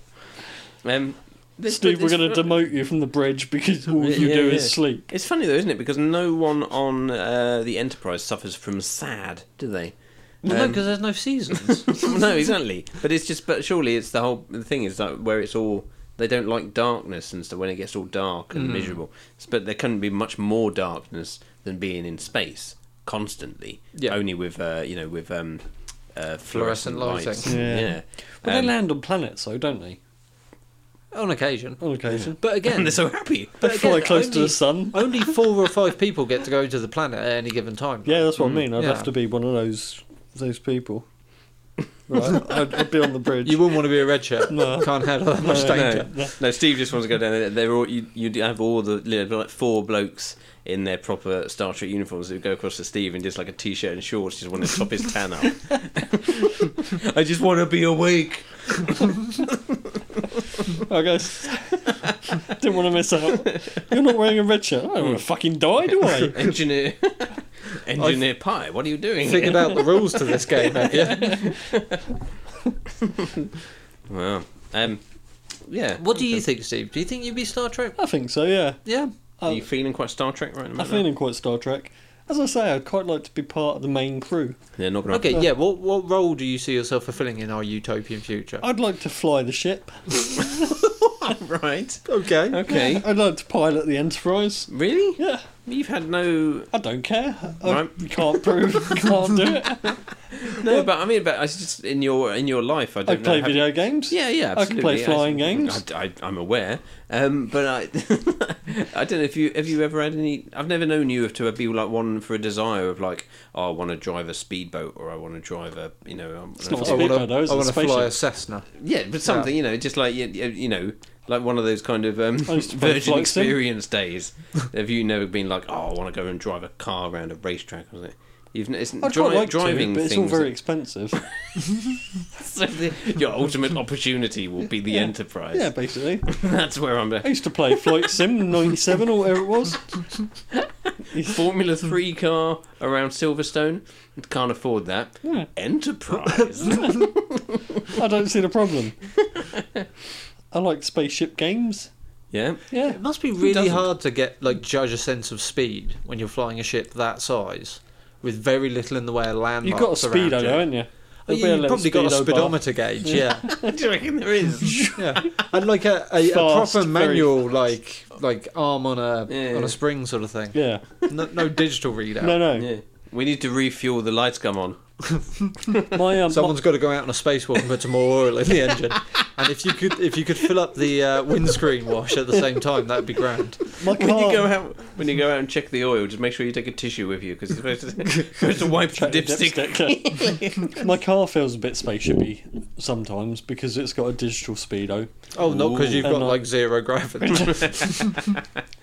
S4: Um, this-
S3: Steve, we're
S4: this-
S3: going to demote you from the bridge because all you
S4: Yeah,
S3: do
S4: yeah.
S3: is sleep.
S4: It's funny though, isn't it? Because no one on uh, the Enterprise suffers from sad, do they?
S2: Well, no,
S4: Um,
S2: because there's no seasons.
S4: no, exactly. But it's just, but surely it's the whole the thing is that where it's all they don't like darkness, and so when it gets all dark
S2: Hmm.
S4: and miserable, S- but there couldn't be much more darkness than being in space constantly.
S2: Yeah.
S4: Only with uh, you know with um, uh,
S2: Fluorescent
S4: fluorescent,
S2: lighting.
S4: lights.
S3: Yeah.
S4: yeah.
S3: Well,
S4: Um,
S3: they land on planets, though, don't they?
S2: on occasion.
S3: On occasion.
S2: But again,
S4: and they're so happy.
S2: but
S3: They fly
S2: again,
S3: close to
S2: only-
S3: the sun.
S2: Only four or five people get to go to the planet at any given time.
S3: Yeah, that's
S4: Mm.
S3: what I mean. I'd
S2: yeah.
S3: have to be one of those those people. Right, I'd, I'd be on the bridge.
S2: You wouldn't want to be a red shirt.
S3: No.
S2: Can't handle that much danger.
S4: No, no, Steve just wants to go down there. They're all you. You have all the you know, like four blokes in their proper Star Trek uniforms who go across to Steve in just like a t-shirt and shorts, just want to top his tan up. I just want to be awake.
S3: I guess didn't want to miss out. You're not wearing a red shirt. I don't
S4: Mm.
S3: want to fucking die, do I?
S4: Engineer, engineer pie. What are you doing?
S2: Figured out the rules to this game, have you?
S4: Wow. Um. Yeah.
S2: What do you think, Steve? Do you think you'd be Star Trek?
S3: I think so. Yeah,
S2: Yeah.
S4: Are you feeling quite Star Trek right now?
S3: I'm feeling quite Star Trek. As I say, I'd quite like to be part of the main crew.
S4: They're not going to.
S2: Okay, yeah. What what role do you see yourself fulfilling in our utopian future?
S3: I'd like to fly the ship.
S4: Right.
S2: Okay.
S4: Okay.
S3: I'd like to pilot the Enterprise.
S4: Really?
S3: Yeah,
S4: You've had no
S3: I don't care. I
S4: Right.
S3: can't prove, can't do it.
S4: No, but I mean, but I just in your in your life, I
S3: I
S4: don't know.
S3: play
S4: have-
S3: video games.
S4: Yeah, yeah,
S3: I can play
S4: absolutely.
S3: flying games.
S4: I, am aware, um, but I, I don't know if you have you ever had any. I've never known you to be like one for a desire of like, oh, I want to drive a speedboat or I want to drive a, you know, um,
S3: It's not
S2: I
S3: a
S2: want
S3: Speedboat, though, it's
S2: to. I
S3: a
S2: want to fly
S3: spaceship.
S2: a Cessna.
S4: yeah, but something you know, just like you, you you know, like one of those kind of um,
S3: I used to play
S4: virgin
S3: Flight Sim.
S4: experience days. have you never been like, oh, I want to go and drive a car around a racetrack or something? You've, n- it's
S3: I'd
S4: dri-
S3: quite like
S4: driving
S3: to, but it's all
S4: things
S3: very
S4: that-
S3: expensive.
S4: So the, your ultimate opportunity will be the Enterprise.
S3: yeah, basically.
S4: That's where I'm
S3: I
S4: at.
S3: used to play Flight Sim 97 or whatever it was.
S4: Formula 3 car around Silverstone. Can't afford that.
S3: Yeah.
S4: Enterprise.
S3: I don't see the problem. I like spaceship games.
S4: yeah.
S3: Yeah.
S2: It must be really
S4: doesn't?
S2: hard to get like judge a sense of speed when you're flying a ship that size with very little in the way of landmarks.
S3: You've got a
S2: around
S3: speedo,
S2: you.
S3: haven't you? There'll be a
S2: You've
S3: little
S2: probably got a
S3: speedo bar.
S2: speedometer gauge, yeah.
S4: Do you reckon there is?
S2: yeah. And like a, a, a
S3: Fast,
S2: proper
S3: very
S2: manual like like arm on a
S4: Yeah.
S2: on a spring sort of thing.
S3: Yeah.
S2: No, no digital readout.
S3: No, no.
S4: Yeah. We need to refuel the lights come on.
S3: My, um,
S2: Someone's got to go out on a spacewalk and put some more oil in the engine. And if you could, if you could fill up the uh, windscreen wash at the same time, that'd be grand.
S3: my,
S4: When you go
S3: car,
S4: out when you go out and check the oil, just make sure you take a tissue with you because you're supposed to, supposed to wipe the dipstick.
S3: dipstick. my car feels a bit spaceshipy sometimes because it's got a digital speedo.
S2: Oh, not because
S4: Ooh.
S2: you've got
S3: And, uh,
S2: like zero gravity.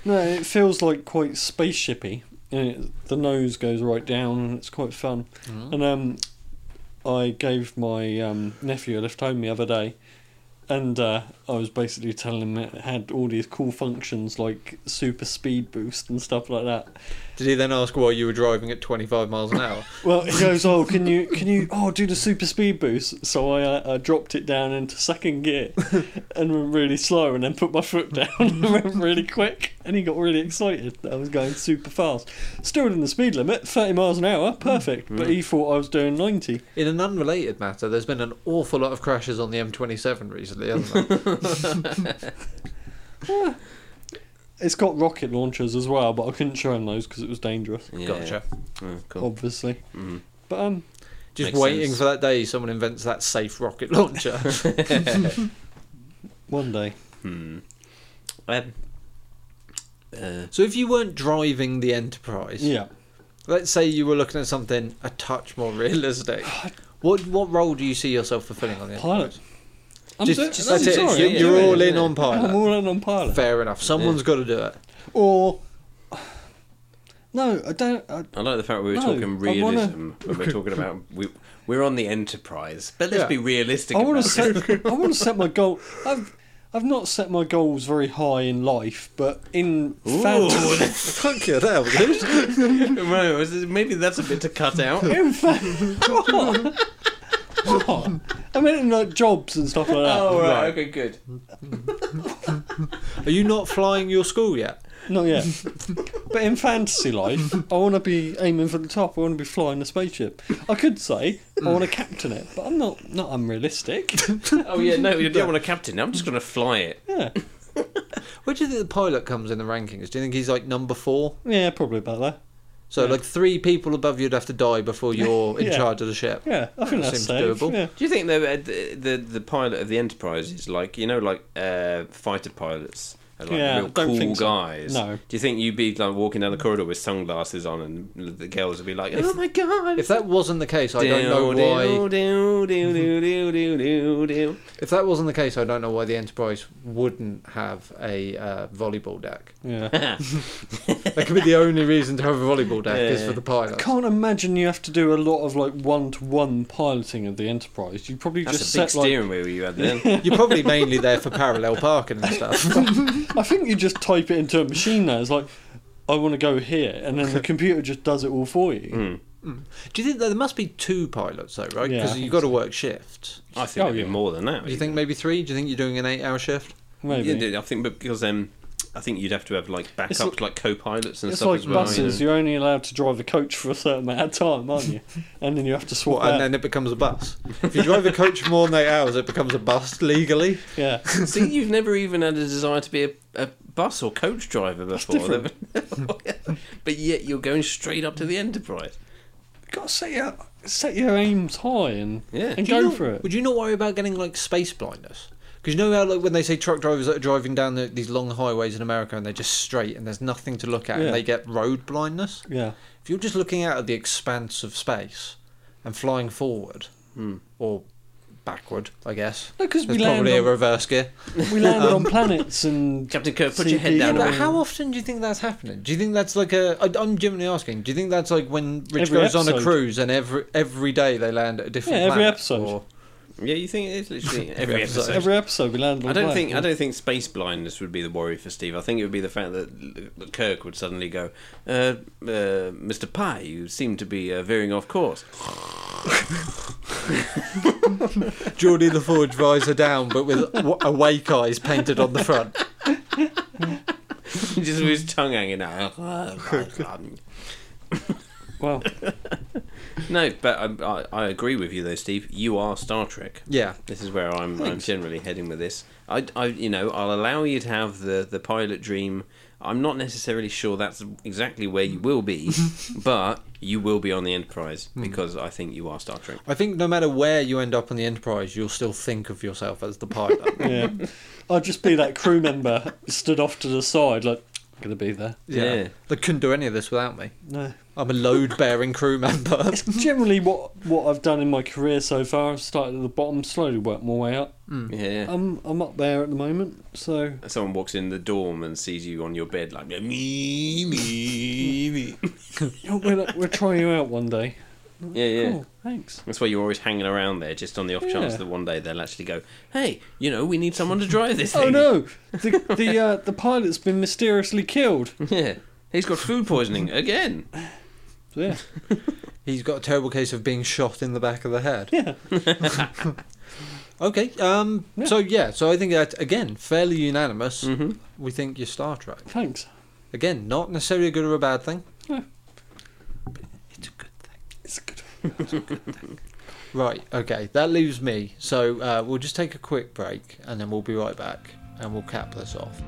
S3: No, it feels like quite spaceshipy. And it, the nose goes right down, and it's quite fun. And um, I gave my um, nephew a lift home the other day, and uh, I was basically telling him it had all these cool functions like super speed boost and stuff like that.
S2: Did he then ask why you were driving at 25 miles an hour?
S3: Well, he goes, "Oh, can you can you oh do the super speed boost?" So I uh, I dropped it down into second gear and went really slow, and then put my foot down and went really quick, and he got really excited. that I was going super fast, still in the speed limit, thirty miles an hour, perfect. But he thought I was doing ninety.
S2: In an unrelated matter, there's been an awful lot of crashes on the M27 recently, hasn't there?
S3: It's got rocket launchers as well, but I couldn't show him those because it was dangerous,
S4: Yeah.
S2: Gotcha.
S4: Oh, cool.
S3: obviously.
S4: Mhm.
S3: But um,
S2: Just
S4: Makes
S2: waiting
S4: sense.
S2: for that day someone invents that safe rocket launcher.
S3: one day,
S4: Hmm. Um, uh,
S2: so if you weren't driving the Enterprise,
S3: yeah,
S2: let's say you were looking at something a touch more realistic. What what role do you see yourself fulfilling on the
S3: Pilot.
S2: Enterprise?
S3: I'm
S2: Just,
S3: doing-
S2: just
S3: I'm
S2: that's it.
S3: sorry,
S2: You-
S3: I'm
S2: You're,
S3: doing
S2: all
S3: it.
S2: in on
S3: I'm
S2: pilot.
S3: all in on pilot.
S2: Fair enough. Someone's got to do it.
S3: or no, I don't. I,
S4: I like the fact we were
S3: No,
S4: talking
S3: I wanna-
S4: realism when we're talking about we, we're on the Enterprise, but let's
S2: Yeah.
S4: be realistic.
S3: I want
S4: about
S3: to
S4: it.
S3: set. I want to set my goal. I've I've not set my goals very high in life, but in
S4: Ooh,
S3: fantasy,
S2: Fuck yeah, that was
S4: Well, is it- maybe that's a bit to cut out.
S3: in fa- what? What? I mean, in like jobs and stuff like that.
S4: Oh, right,
S2: Right.
S4: okay, good.
S2: Are you not flying your school yet?
S3: Not yet. but in fantasy life, I want to be aiming for the top. I want to be flying a spaceship. I could say I
S4: Mm.
S3: want to captain it, but I'm not not unrealistic.
S4: Oh, yeah, no, you don't want a captain. I'm just going to fly it.
S3: Yeah,
S2: Where do you think the pilot comes in the rankings? Do you think he's like number four?
S3: yeah, probably about that.
S2: So
S3: Yeah.
S2: like three people above you'd have to die before you're in
S3: Yeah.
S2: charge of the ship.
S3: Yeah, I think that's
S2: Seems
S3: safe.
S2: doable.
S3: Yeah.
S4: Do you think though uh, the, the the pilot of the Enterprise is like you know like uh, fighter pilots are like
S3: Yeah,
S4: real
S3: don't
S4: cool
S3: think so.
S4: guys?
S3: No.
S4: Do you think you'd be like walking down the corridor with sunglasses on and the girls would be like, "Oh my god!"
S2: If that wasn't the case, I don't know
S4: Doo, doo,
S2: why.
S4: doo, doo, doo, doo, doo, doo, doo.
S2: If that wasn't the case, I don't know why the Enterprise wouldn't have a uh, volleyball deck.
S3: Yeah.
S2: That could be the only reason to have a volleyball deck is
S4: Yeah.
S2: for the
S3: I
S2: pilot.
S3: can't imagine you have to do a lot of like one to one piloting of the Enterprise. You probably
S4: That's
S3: just
S4: a big
S3: set like
S4: steering wheel you had then.
S2: You're probably mainly there for parallel parking and stuff.
S3: I think you just type it into a machine now. It's like I want to go here, and then the computer just does it all for you.
S4: Hmm.
S2: Do you think that there must be two pilots though, right?
S3: Yeah, I
S2: Because
S3: think
S2: you've got to work shifts.
S4: I think
S3: Oh,
S4: it'd
S3: yeah.
S4: be more than that.
S2: Do you think maybe three? Do you think you're doing an eight-hour shift?
S3: Maybe
S4: Yeah, dude, I think because um, I think you'd have to have like backups,
S3: like-
S4: like, co-pilots and
S3: it's
S4: stuff
S3: like
S4: as well. you
S3: buses.
S4: know.
S3: You're only allowed to drive a coach for a certain amount of time, aren't you? and then you have to swap
S2: What, and
S3: out.
S2: then it becomes a bus. If you drive a coach more than eight hours, it becomes a bus legally.
S3: yeah,
S4: See, you've never even had a desire to be a, a bus or coach driver before, but yet you're going straight up to the Enterprise.
S3: You've got to set your set your aims high and
S4: Yeah.
S3: and
S2: Do you
S3: go
S2: not-
S3: for it.
S2: Would you not worry about getting like space blindness? Because you know how like when they say truck drivers that are driving down the, these long highways in America and they're just straight and there's nothing to look at
S3: Yeah.
S2: and they get road blindness.
S3: Yeah,
S2: If you're just looking out at the expanse of space and flying forward
S4: Hmm.
S2: or backward, I guess.
S3: no, because we
S2: There's probably a
S3: landed
S2: reverse gear.
S3: on, we landed
S4: Um,
S3: on planets and
S4: Captain Kirk, put
S3: See,
S4: your head
S3: yeah,
S2: Yeah,
S4: down.
S2: but
S3: know.
S2: how often do you think that's happening? Do you think that's like a? I, I'm genuinely asking. Do you think that's like when Rich
S3: Every
S2: goes on a
S3: episode.
S2: cruise and every every day they land at a different?
S3: Yeah, every
S2: planet,
S3: episode.
S2: or-
S4: Yeah, you think it's literally
S2: Every
S4: every
S2: episode.
S4: episode.
S3: every episode we landed on.
S4: I don't
S3: planets.
S4: think I don't think space blindness would be the worry for Steve. I think it would be the fact that L- Kirk would suddenly go, uh, uh, "Mr. Pye, you seem to be uh, veering off course."
S2: Geordie LaForge visor down, but with w- awake eyes painted on the front.
S4: Just with his tongue hanging out.
S3: Well,
S4: no, but I, I, I agree with you though, Steve. You are Star Trek.
S2: Yeah,
S4: This is where I'm, I'm generally heading with this. I, I, you know, I'll allow you to have the, the pilot dream. I'm not necessarily sure that's exactly where you will be, but you will be on the Enterprise because I think you are Star Trek.
S2: I think no matter where you end up on the Enterprise, you'll still think of yourself as the pilot.
S3: yeah, I'd just be that crew member stood off to the side, like I'm gonna be there.
S4: Yeah.
S2: they couldn't do any of this without me.
S3: No.
S2: I'm a load-bearing crew member.
S3: It's generally what what I've done in my career so far. I've started at the bottom, slowly worked my way up.
S4: Yeah.
S3: I'm I'm up there at the moment, so
S4: Someone walks in the dorm and sees you on your bed, like me, me, me.
S3: you know, we'll we'll try you out one day.
S4: yeah, yeah.
S3: Cool, thanks.
S4: That's why you're always hanging around there, just on the off chance
S3: Yeah.
S4: that one day they'll actually go, "Hey, you know, we need someone to drive this
S3: Oh
S4: thing."
S3: no, the the uh, the pilot's been mysteriously killed.
S4: Yeah, he's got food poisoning again.
S3: Yeah,
S2: He's got a terrible case of being shot in the back of the head.
S3: yeah,
S2: Okay, um,
S3: Yeah.
S2: so yeah, so I think that again fairly unanimous.
S4: Mm-hmm.
S2: We think you're Star Trek.
S3: thanks.
S2: Again, not necessarily a good or a bad thing.
S4: It's a good thing.
S3: It's good.
S2: Right, okay, that leaves me. So uh, we'll just take a quick break and then we'll be right back and we'll cap this off.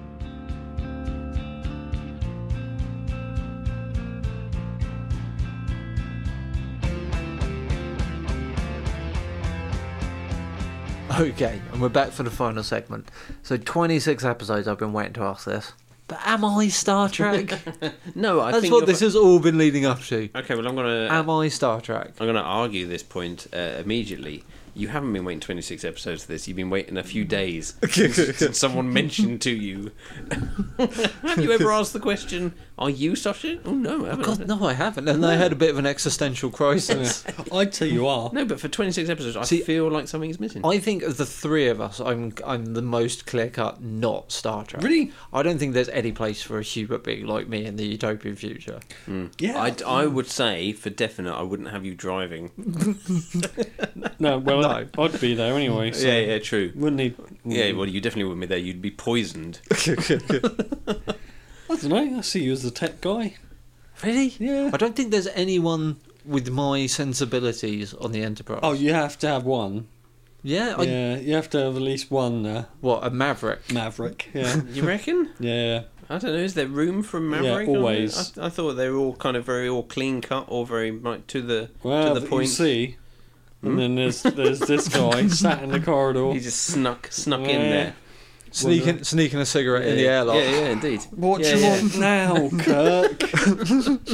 S2: Okay, and we're back for the final segment. So 26 episodes I've been waiting to ask this. But am I Star Trek?
S4: No, I
S2: That's
S4: think
S2: what
S4: you're-
S2: this has all been leading up to.
S4: Okay, well, I'm gonna
S2: Am I Star Trek?
S4: I'm gonna argue this point uh, immediately. You haven't been waiting 26 episodes for this. You've been waiting a few days since someone mentioned to you. Have you ever asked the question, "Are you Sasha?" Oh no, I haven't.
S2: God, no, I haven't. And I had a bit of an existential crisis.
S3: I tell you are.
S4: No, but for 26 episodes, I
S2: See-
S4: feel like something is missing.
S2: I think of the three of us, I'm I'm the most clear cut not Star Trek.
S3: Really?
S2: I don't think there's any place for a Hubert being like me in the utopian future.
S3: Yeah.
S4: I'd- I, would say for definite, I wouldn't have you driving.
S3: No, well,
S2: No.
S3: I'd be there anyway. So
S4: yeah, yeah, true.
S3: Wouldn't need.
S4: Yeah, well, you definitely wouldn't be there. You'd be poisoned.
S3: I don't know. I see you as the tech guy.
S2: Really?
S3: Yeah.
S2: I don't think there's anyone with my sensibilities on the Enterprise.
S3: Oh, you have to have one.
S2: yeah.
S4: Oh,
S2: I,
S3: yeah, you have to have at least one uh,
S2: What a maverick.
S3: Maverick. Yeah,
S4: You reckon?
S3: yeah.
S4: I don't know. Is there room for a Maverick?
S3: always.
S4: I, I thought they were all kind of very all clean cut or very like to the
S3: Well,
S4: to the
S3: but
S4: point.
S3: you
S4: Hmm?
S3: see, and then there's there's this guy sat in the corridor.
S4: He just snuck snuck in
S3: Yeah.
S4: there.
S2: Sneaking, sneaking a cigarette in the airlock.
S4: Yeah, yeah, indeed.
S3: What
S4: Yeah,
S3: you
S4: yeah.
S3: want now, Kirk?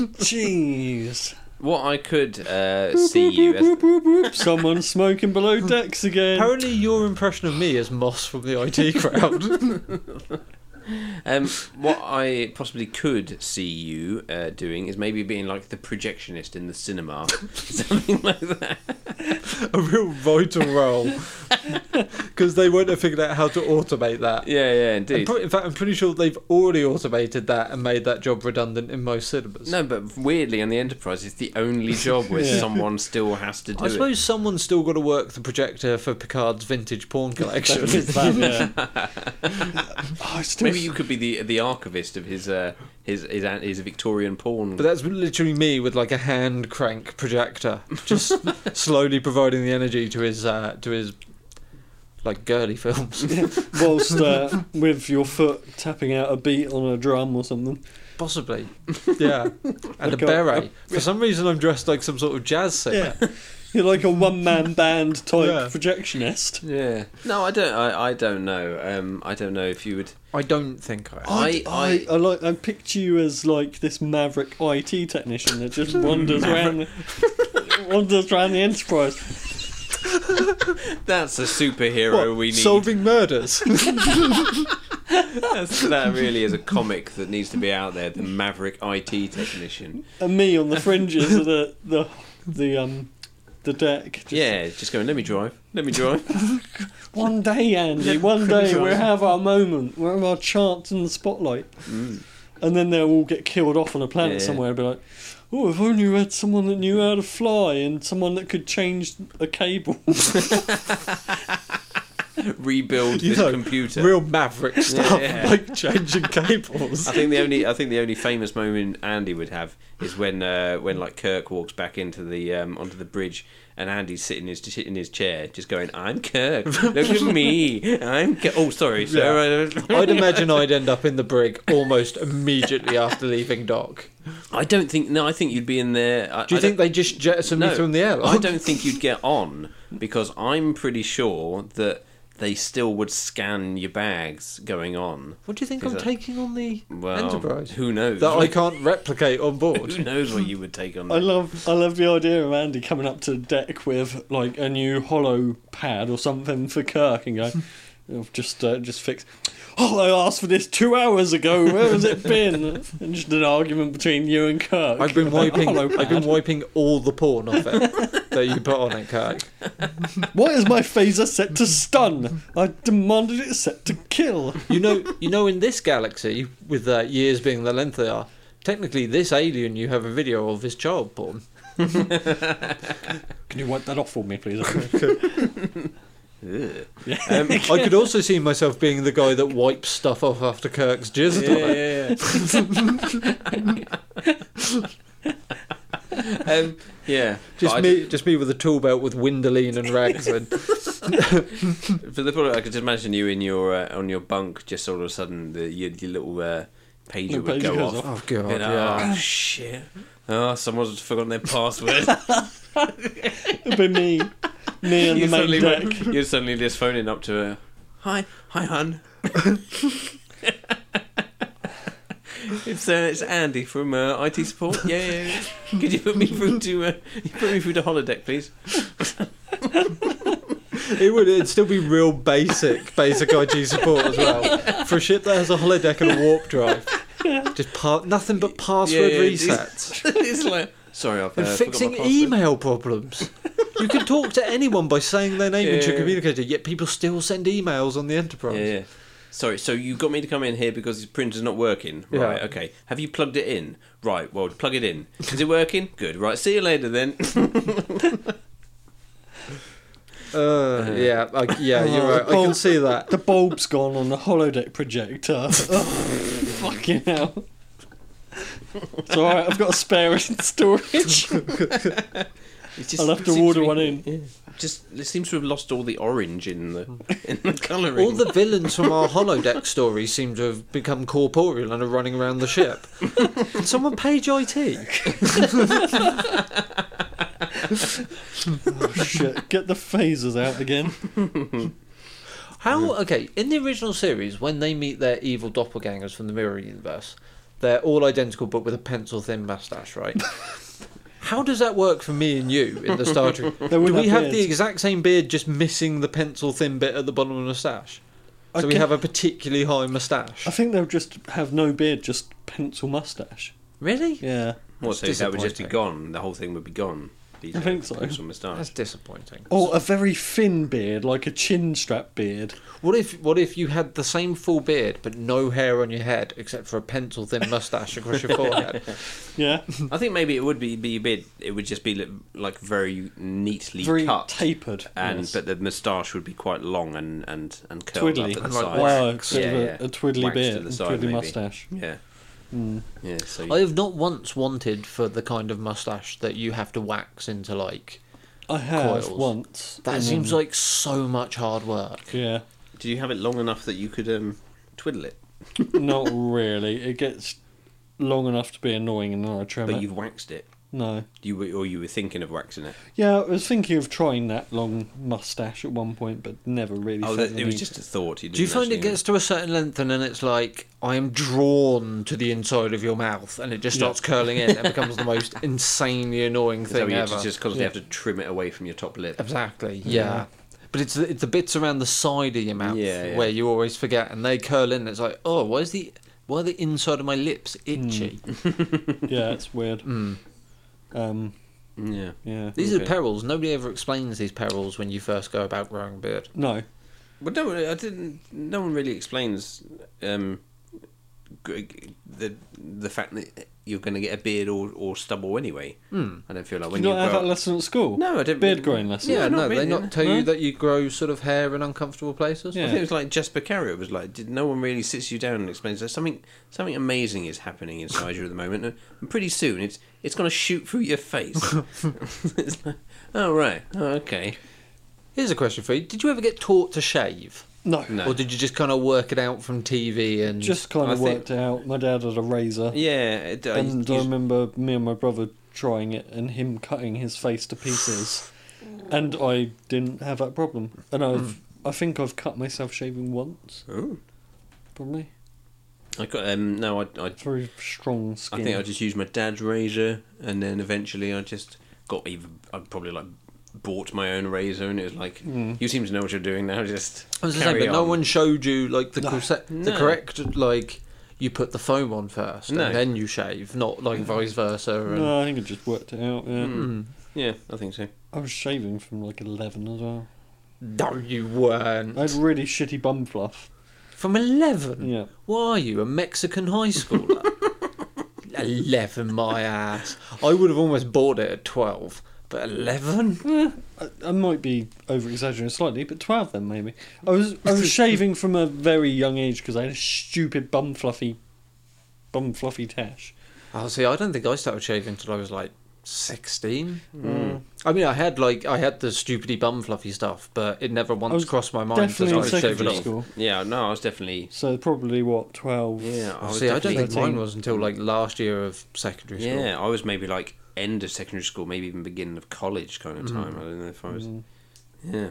S3: Jeez.
S4: What I could uh, see you as.
S3: Boop, boop, boop. Someone's smoking below decks again.
S2: Apparently, your impression of me is Moss from the IT crowd.
S4: Um, what I possibly could see you uh, doing is maybe being like the projectionist in the cinema, something like that.
S2: a real vital role. Because they won't have figured out how to automate that.
S4: Yeah, yeah,
S2: I'm
S4: indeed.
S2: pre- in fact, I'm pretty sure they've already automated that and made that job redundant in most cinemas.
S4: No, but weirdly, on the Enterprise, it's the only job where
S3: Yeah.
S4: someone still has to do
S2: I
S4: it.
S2: suppose someone's still got to work the projector for Picard's vintage porn collection.
S3: There is that, yeah. Oh, I still
S4: Maybe you could be the the archivist of his uh, his his an- his Victorian porn.
S2: But that's literally me with like a hand crank projector, just slowly providing the energy to his uh, to his like girly films.
S3: whilst uh, with your foot tapping out a beat on a drum or something.
S2: Possibly. Yeah. And a
S3: Like a-
S2: beret. For some reason, I'm dressed like some sort of jazz singer.
S3: Yeah. You're like a one man band type
S2: Yeah.
S3: projectionist.
S4: yeah. No, I don't. I, I don't know. Um, I don't know if you would.
S2: I don't think I am.
S4: I-
S3: I, I, like, I picture you as like this maverick IT technician that just wanders around, the- wanders around the enterprise.
S4: That's a superhero
S2: What,
S4: we need.
S2: Solving murders.
S4: That's- that really is a comic that needs to be out there. The Maverick IT technician.
S3: and me on the fringes of the the the um the deck. Just,
S4: Yeah, just going. Let me drive. Let me drive.
S3: One day, Andy. One day we'll have our moment. We'll have our chance in the spotlight.
S4: Mm.
S3: And then they'll all get killed off on a planet
S4: Yeah.
S3: somewhere and be like, "Oh, if only we had someone that knew how to fly and someone that could change a cable."
S4: Rebuild
S2: You
S4: this
S2: know,
S4: computer.
S2: Real maverick stuff,
S4: Yeah.
S2: like changing cables.
S4: I think the only I think the only famous moment Andy would have is when uh, when like Kirk walks back into the um, onto the bridge and Andy's sitting his sitting in his chair just going I'm Kirk look at me I'm Ki-" oh sorry sir
S2: I'd imagine I'd end up in the brig almost immediately after leaving dock.
S4: I don't think no I think you'd be in there I,
S2: Do you
S4: I
S2: think
S4: don't-
S2: they just jettison me
S4: no,
S2: from the airlock?
S4: I don't think you'd get on because I'm pretty sure that they still would scan your bags going on
S2: What do you think
S4: Is
S2: I'm
S4: that-
S2: taking on the
S4: well
S2: Enterprise?
S4: who knows
S2: That I can't replicate on board.
S4: who knows what you would take on
S3: I
S4: that?
S3: love I love the idea of Andy coming up to the deck with like a new hollow pad or something for Kirk and going, "Oh, just uh, just fix. Oh, I asked for this two hours ago. Where has it been? And just an argument between you and Kirk.
S2: I've been
S3: about
S2: wiping.
S3: hollow
S2: I've been wiping all the porn off it that you put on it, Kirk.
S3: pad. Why is my phaser set to stun? I demanded it set to kill.
S2: You know, you know, in this galaxy, with uh, years being the length they are, technically, this alien you have a video of is child porn.
S3: Can you wipe that off for me, please?
S4: Ugh.
S2: I could also see myself being the guy that wipes stuff off after Kirk's jizz.
S4: Yeah,
S2: on it.
S4: yeah, yeah. um, yeah.
S2: Just
S4: but I-
S2: me, just me with a tool belt with windoline and rags. And
S4: for the product, I could just imagine you in your uh, on your bunk, just all of a sudden the your, your little uh, pager
S3: Little
S4: would
S3: pager
S4: go
S3: goes
S4: off.
S2: oh god,
S4: You know,
S2: yeah.
S4: Oh shit! Oh, someone's forgotten their password.
S3: It'd be me, me on
S4: you
S3: the main
S4: suddenly
S3: deck.
S4: went- you're suddenly just phoning up to her. Hi, hi, hun. it's uh, it's Andy from uh, IT support. Yeah, yeah, yeah. Could you put me through to uh, you put me through to holodeck, please?
S2: It would. It'd still be real basic, basic IG support as well for a ship that has a holodeck and a warp drive. Just part, nothing but password
S4: Yeah, yeah, it's-
S2: resets.
S4: it's like sorry, I've uh,
S2: and
S4: forgot
S2: fixing
S4: my password.
S2: email problems. you can talk to anyone by saying their name into
S4: Yeah.
S2: a communicator, yet people still send emails on the Enterprise.
S4: Yeah, yeah. Sorry, so you got me to come in here because his printer's not working.
S2: Yeah.
S4: Right, okay. Have you plugged it in? Right, well, plug it in. Is it working? Good. Right, see you later then.
S2: Uh,
S4: Uh-huh.
S2: yeah, I, yeah, you're right. I
S3: Oh.
S2: can see that.
S3: The bulb's gone on the holodeck projector. Oh, fucking hell. It's alright, I've got a spare in storage.
S4: It's just-
S3: I'll have
S4: it
S3: to
S4: seems
S3: order
S4: be-
S3: one in.
S4: yeah. Just it seems to have lost all the orange in the in the colouring.
S2: Hmm. All the villains from our holodeck story seem to have become corporeal and are running around the ship. Can someone page IT?
S3: Oh, shit. Get the phasers out again.
S2: How okay? In the original series, when they meet their evil doppelgangers from the Mirror Universe, they're all identical but with a pencil-thin mustache, right? How does that work for me and you in the Star Trek? Do
S3: wouldn't
S2: we
S3: have
S2: have the
S3: beards.
S2: exact same beard, just missing the pencil-thin bit at the bottom of the mustache? So we
S3: Okay.
S2: have a particularly high mustache.
S3: I think they'll just have no beard, just pencil mustache.
S2: Really?
S3: Yeah.
S4: What, so
S2: That's
S4: that would just be
S2: disappointing.
S4: gone. The whole thing would be gone. These
S3: I
S4: are
S3: think so.
S4: pencil moustache.
S2: That's disappointing.
S3: Or a very thin beard, like a chin strap beard.
S2: What if what if you had the same full beard but no hair on your head except for a pencil thin mustache across your forehead?
S3: Yeah.
S4: I think maybe it would be, be a bit. It would just be li- like very neatly
S3: very
S4: cut,
S3: tapered.
S4: and
S3: yes.
S4: but the moustache would be quite long and and and curled
S3: Twiddly.
S4: up at the
S2: And like
S4: side.
S3: wow, a,
S2: wax.
S3: bit of a-
S4: Yeah, yeah.
S3: a twiddly
S4: Waxed
S3: beard,
S4: to the
S3: a
S4: side,
S3: twiddly
S4: maybe.
S3: mustache. Hmm.
S4: Yeah, yeah. So you-
S2: I have not once wanted for the kind of mustache that you have to wax into like
S3: I have
S2: Coils.
S3: once.
S2: that
S3: and
S2: seems
S3: then-
S2: like so much hard work.
S3: yeah,
S4: do you have it long enough that you could um, twiddle it,
S3: not really. It gets long enough to be annoying, and then I trim
S4: but
S3: it.
S4: you've waxed it?
S3: No,
S4: You were, or you were thinking of waxing it?
S3: yeah, I was thinking of trying that long mustache at one point, but never really.
S4: Oh,
S3: felt
S4: that,
S3: the
S4: it was
S3: need.
S4: just a thought.
S2: Do you
S4: didn't
S2: find it
S4: actually-
S2: gets to a certain length and then it's like I am drawn to the inside of your mouth and it just
S3: Yeah.
S2: starts curling in and becomes the most insanely annoying
S4: So
S2: thing
S4: you
S2: ever.
S4: just just constantly
S3: Yeah.
S4: have to trim it away from your top lip.
S2: Exactly. Yeah. But it's the, it's the bits around the side of your mouth
S4: Yeah, yeah.
S2: where you always forget, and they curl in. And it's like, oh, why is the why are the inside of my lips
S4: Hmm.
S2: itchy?
S3: yeah, it's weird. Um,
S4: Yeah.
S3: yeah,
S2: These are
S4: Okay.
S2: perils. Nobody ever explains these perils when you first go about growing a beard.
S3: no,
S4: But no, I didn't. No one really explains um, g- g- the the fact that you're going to get a beard or, or stubble anyway. Mm. I don't feel like
S3: you
S4: when you,
S3: not have
S4: grow
S3: that
S4: up-
S3: lesson at school.
S4: No, I didn't.
S3: beard growing lesson.
S4: Yeah,
S2: Yeah,
S4: not
S2: no, they
S4: really,
S2: not tell
S3: no.
S2: you that you grow sort of hair in uncomfortable places.
S4: I
S3: Yeah.
S4: think it was like Jasper Carrier was like, did no one really sits you down and explains that something something amazing is happening inside you at the moment, and- and pretty soon it's it's going to shoot through your face. it's like, oh right, oh, okay.
S2: Here's a question for you: Did you ever get taught to shave,
S3: no,
S4: No.
S2: or did you just kind of work it out from TV and
S3: just kind
S4: I
S3: of
S4: think-
S3: worked it out. My dad had a razor.
S4: Yeah, it, uh, I,
S3: And I
S4: you-
S3: remember me and my brother trying it and him cutting his face to pieces. and I didn't have that problem. And
S4: Hmm.
S3: I've I think I've cut myself shaving once,
S4: Ooh.
S3: probably.
S4: I got um no, I I
S3: Very strong skin.
S4: I think I just used my dad's razor, and then eventually I just got even. I probably like bought my own razor, and it was like,
S3: Hmm.
S4: you seem to know what you're doing now. Just
S2: I was gonna say,
S4: carry
S2: but no
S4: on."
S2: one showed you like the corse- the
S4: No.
S2: correct like you put the foam on first
S4: No.
S2: and then you shave, not like vice versa. And
S3: No, I think I just worked it out, yeah.
S4: Hmm. Yeah, I think so.
S3: I was shaving from like eleven as well.
S2: no, you
S3: I had
S2: weren't.
S3: really shitty bum fluff.
S2: From
S4: Hmm.
S2: eleven,
S3: Yeah.
S2: why are you a Mexican high schooler? eleven, my ass. I would have almost bought it at twelve, but eleven.
S3: Eh, I, I might be over exaggerating slightly, but twelve then maybe. I was I was shaving from a very young age because I had a stupid bum fluffy, bum fluffy tash.
S2: Oh, see, I don't think I started shaving until I was like sixteen. I mean, I had like I had the stupidy bum fluffy stuff, but it never once
S3: was
S2: crossed my mind that
S3: definitely
S2: I
S3: in
S2: would shave it
S3: secondary
S2: off.
S3: school.
S4: Yeah, no, I was definitely.
S3: So probably what twelve? Oh,
S4: Yeah, I was
S2: See, I don't
S4: definitely-
S2: think mine
S3: 13.
S2: was until like last year of secondary school.
S4: Yeah, I was maybe like end of secondary school, maybe even beginning of college kind
S3: Hmm.
S4: of time. I don't know if I was. Yeah,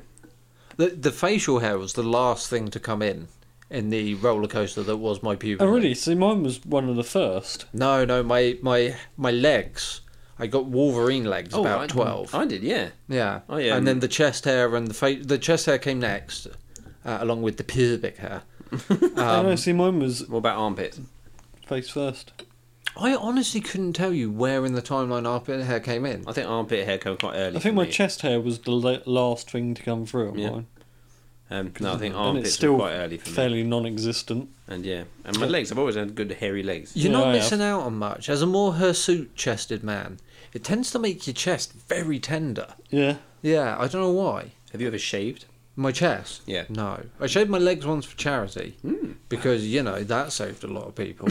S2: The, the facial hair was the last thing to come in in the roller coaster that was my puberty.
S3: Oh really? So mine was one of the first.
S2: No, no, my my my legs. I got Wolverine legs Oh, about
S4: Oh, I,
S2: twelve.
S4: I did. Yeah,
S2: yeah.
S4: I, um,
S2: and then the chest hair and the face. The chest hair came next, uh, along with the pubic hair.
S3: I
S4: Um,
S3: know. See, mine was
S4: what about armpits?
S3: face first.
S2: I honestly couldn't tell you where in the timeline armpit hair came in.
S4: I think armpit hair came quite early.
S3: I think
S4: for
S3: my
S4: me.
S3: chest hair was the la- last thing to come through. on
S4: Yeah.
S3: mine.
S4: Um, no, I
S3: and it's
S4: think armpits
S3: still
S4: were quite early for me.
S3: fairly non-existent.
S4: And yeah, and my legs. I've always had good hairy legs.
S2: You're
S3: Yeah, I
S2: not
S3: have.
S2: missing out on much. As a more hirsute chested man, it tends to make your chest very tender.
S3: Yeah.
S2: Yeah, I don't know why.
S4: Have you ever shaved?
S2: My chest?
S4: Yeah. Hmm.
S2: No. I shaved my legs once for charity because, you know, that saved a lot of people.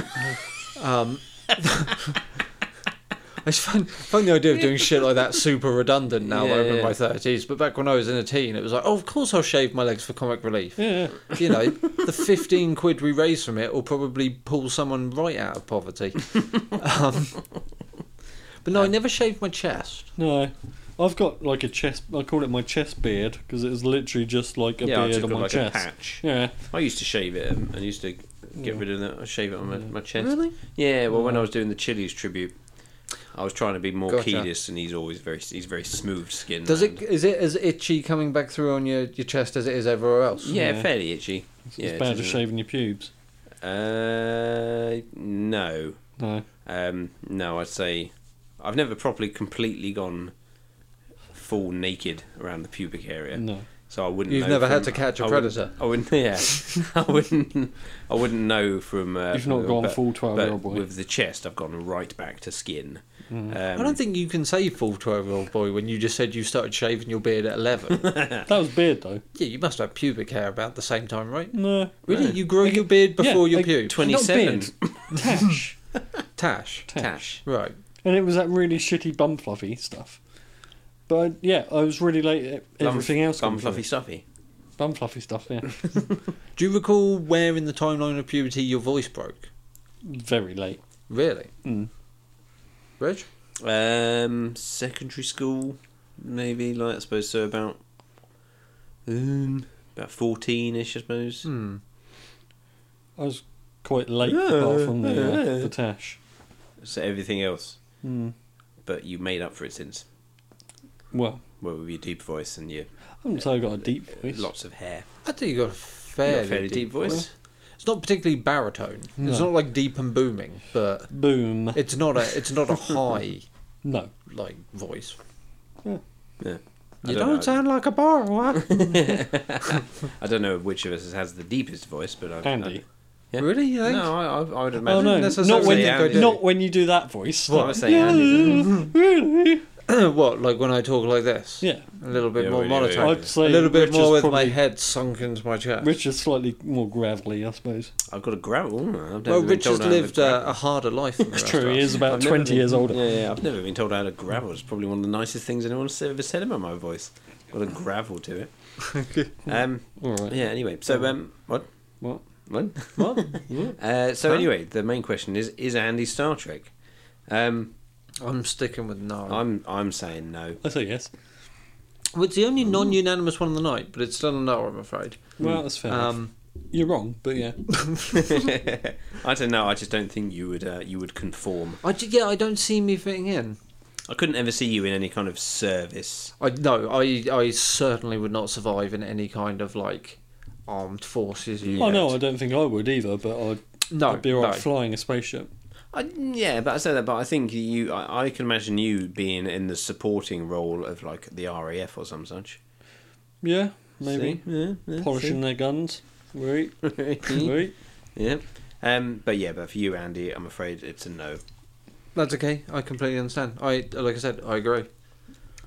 S2: um, It's fun, fun the idea of doing shit like that super redundant now that I'm
S4: Yeah,
S2: in my
S4: yeah.
S2: thirties. But back when I was in a teen, it was like, oh, of course I'll shave my legs for comic relief.
S3: Yeah.
S2: You know, the fifteen quid we raise from it will probably pull someone right out of poverty. um, but no, I never shaved my chest.
S3: No. I've got like a chest. I call it my chest beard because it is literally just like a
S4: yeah, I
S3: beard
S4: just
S3: on
S4: got
S3: my
S4: like
S3: chest.
S4: a patch.
S3: Yeah.
S4: I used to shave it. um, I used to get
S3: Yeah. Mm.
S4: rid of that. I shave it on my, my chest.
S2: Really?
S4: Yeah. Well, when I was doing the Chili's tribute, I was trying to be more
S2: Gotcha.
S4: Kedis, and he's always very he's very smooth skinned.
S2: Does it? Is it as itchy coming back through on your, your chest as it is everywhere else?
S4: Yeah,
S3: Yeah.
S4: fairly itchy.
S3: It's
S4: yeah,
S3: as bad as
S4: isn't it?
S3: shaving your pubes.
S4: Uh, no,
S3: No.
S4: um, no. I'd say I've never properly completely gone full naked around the pubic area.
S3: No.
S4: So I wouldn't.
S2: You've
S4: know
S2: never
S4: from-
S2: had to catch a
S4: I wouldn't-
S2: predator?
S4: I wouldn't. Yeah, I wouldn't. I wouldn't know from. Uh,
S3: You've
S4: from
S3: not
S4: the-
S3: gone
S4: but-
S3: full 12
S4: but
S3: year old boy.
S4: With the chest, I've gone right back to skin. Um,
S2: I don't think you can say full twelve year old boy when you just said you started shaving your beard at eleven.
S4: Ah.
S3: That was beard though.
S2: yeah, you must have pubic hair about the same time, right?
S3: No.
S2: Really? You grow your beard
S3: yeah,
S2: before your
S3: like
S2: pubes?
S4: twenty seven.
S3: Not beard. Tash.
S2: Tash.
S4: Tash.
S2: Right.
S3: And it was that really shitty bum fluffy stuff. But yeah, I was really late at everything
S4: Bum-
S3: else.
S4: Bum
S3: coming
S4: fluffy
S3: through.
S4: stuffy.
S3: Bum fluffy stuff, yeah.
S2: Do you recall where in the timeline of puberty your voice broke?
S3: Very late.
S2: Really?
S3: Mm.
S2: Reg?
S4: Um, secondary school, maybe like I suppose so about um, about fourteen ish, I suppose.
S2: Hmm.
S3: I was quite late apart from the, uh, the tash.
S4: So everything else,
S3: Mm.
S4: but you made up for it since.
S3: Well,
S4: Well, with your deep voice and your
S3: I haven't say I got a deep voice.
S4: lots of hair,
S2: I think you got a
S4: You've
S2: fairly,
S4: got a fairly deep, voice.
S2: It's not particularly baritone.
S3: No.
S2: It's not like deep and booming, but
S3: Boom.
S2: it's not a it's not a high
S3: No.
S2: like voice.
S4: Yeah. I
S2: You
S4: don't
S2: don't,
S4: know.
S2: sound like a borrower.
S4: I don't know which of us has the deepest voice, but I,
S3: Andy.
S4: Yeah.
S2: Really? You
S4: I,
S2: think?
S4: no, I, I- I would imagine.
S3: Oh no, not
S2: necessarily
S3: when,
S4: Andy
S3: you,
S4: did.
S3: not when you do that voice.
S4: What? I was saying
S3: yeah,
S4: Andy
S3: really?
S2: what, like when I talk like this?
S3: Yeah.
S2: A little bit
S4: Yeah,
S2: more
S4: we do, yeah.
S2: monotone.
S4: I'd
S2: a
S3: say
S2: little bit
S3: Rich
S2: more
S3: is
S2: with my
S3: probably-
S2: head sunk into my chest.
S3: Rich is slightly more gravelly, I suppose.
S4: I've got a gravel. Ooh, I've never
S2: well,
S4: been
S2: Rich has
S4: told I had a
S2: lived uh,
S4: gravel.
S2: a harder life than the
S3: It's
S2: rest
S3: true,
S2: of
S3: he
S2: us.
S3: is about
S4: I've never
S3: 20
S4: been-
S3: years older.
S4: Yeah, yeah, I've never been told I had a gravel. It's probably one of the nicest things anyone's ever said about my voice. Got a gravel to it. um,
S3: Alright.
S4: yeah. Anyway, so um, what?
S3: What?
S4: What?
S2: What?
S4: Uh, so
S2: Huh?
S4: anyway, the main question is: Is Andy Star Trek? Um,
S2: I'm sticking with no.
S4: I'm I'm saying no.
S3: I say yes.
S2: Well, it's the only non-unanimous one of the night, but it's still a no, I'm afraid.
S3: Well, that's fair. enough.
S2: Um,
S3: You're wrong, but yeah.
S4: I don't know. I just don't think you would uh, you would conform.
S2: I ju- yeah, I don't see me fitting in.
S4: I couldn't ever see you in any kind of service.
S2: I no, I I certainly would not survive in any kind of like armed forces. Unit.
S3: Oh no, I don't think I would either, but I'd,
S2: no,
S3: I'd be alright
S2: no.
S3: flying a spaceship.
S4: I, yeah, but I say that. But I think you. I, I can imagine you being in the supporting role of like the RAF or some such.
S3: Yeah, maybe.
S4: See? Mm-hmm. Yeah, yeah,
S3: Polishing their guns. Right. right.
S4: yeah. Um, but yeah, but for you, Andy, I'm afraid it's a no.
S2: That's okay. I completely understand. I like I said, I agree.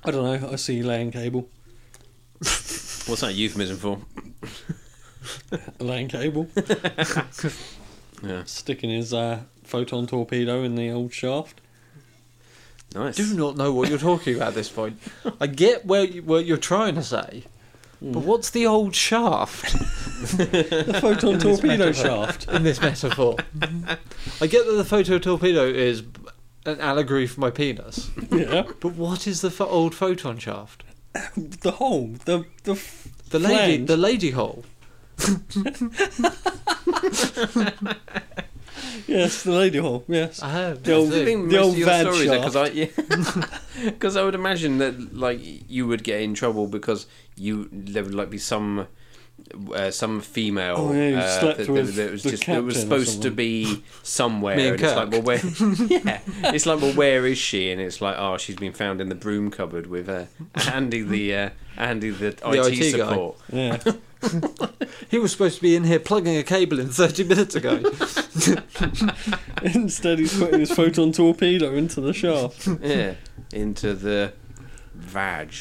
S3: I don't know, I see you laying cable.
S4: What's that euphemism for?
S3: Laying cable.
S4: Yeah.
S3: Sticking his uh, photon torpedo in the old shaft.
S4: Nice.
S2: do not know what you're talking about at this point. I get where you, what you're trying to say, but
S3: Mm.
S2: what's the old shaft
S3: The photon torpedo shaft.
S2: in this metaphor? I get that the photo torpedo is an allegory for my penis,
S3: Yeah.
S2: but what is the pho- old photon shaft?
S3: The hole. The the f-
S2: The lady,
S3: flange.
S2: the lady hole.
S3: Yes, the lady hole. Yes.
S2: Oh,
S3: The old-
S2: I see.
S4: I think
S3: The
S4: most
S3: old
S4: of your
S3: van
S4: stories because I yeah. 'Cause I would imagine that like you would get in trouble because you there would like be some uh, some female
S3: Oh, yeah, you
S4: uh,
S3: slept
S4: that,
S3: with
S4: that, that was
S3: the
S4: just that was
S3: captain or
S4: supposed to
S3: something.
S4: be somewhere
S2: Me and
S4: and it's like well where yeah it's like well where is she and it's like oh she's been found in the broom cupboard with uh, Andy the uh, Andy the, IT,
S2: IT guy.
S4: support
S3: Yeah.
S2: He was supposed to be in here plugging a cable in 30 minutes ago.
S3: Instead, he's putting his photon torpedo into the shaft.
S4: yeah into the vag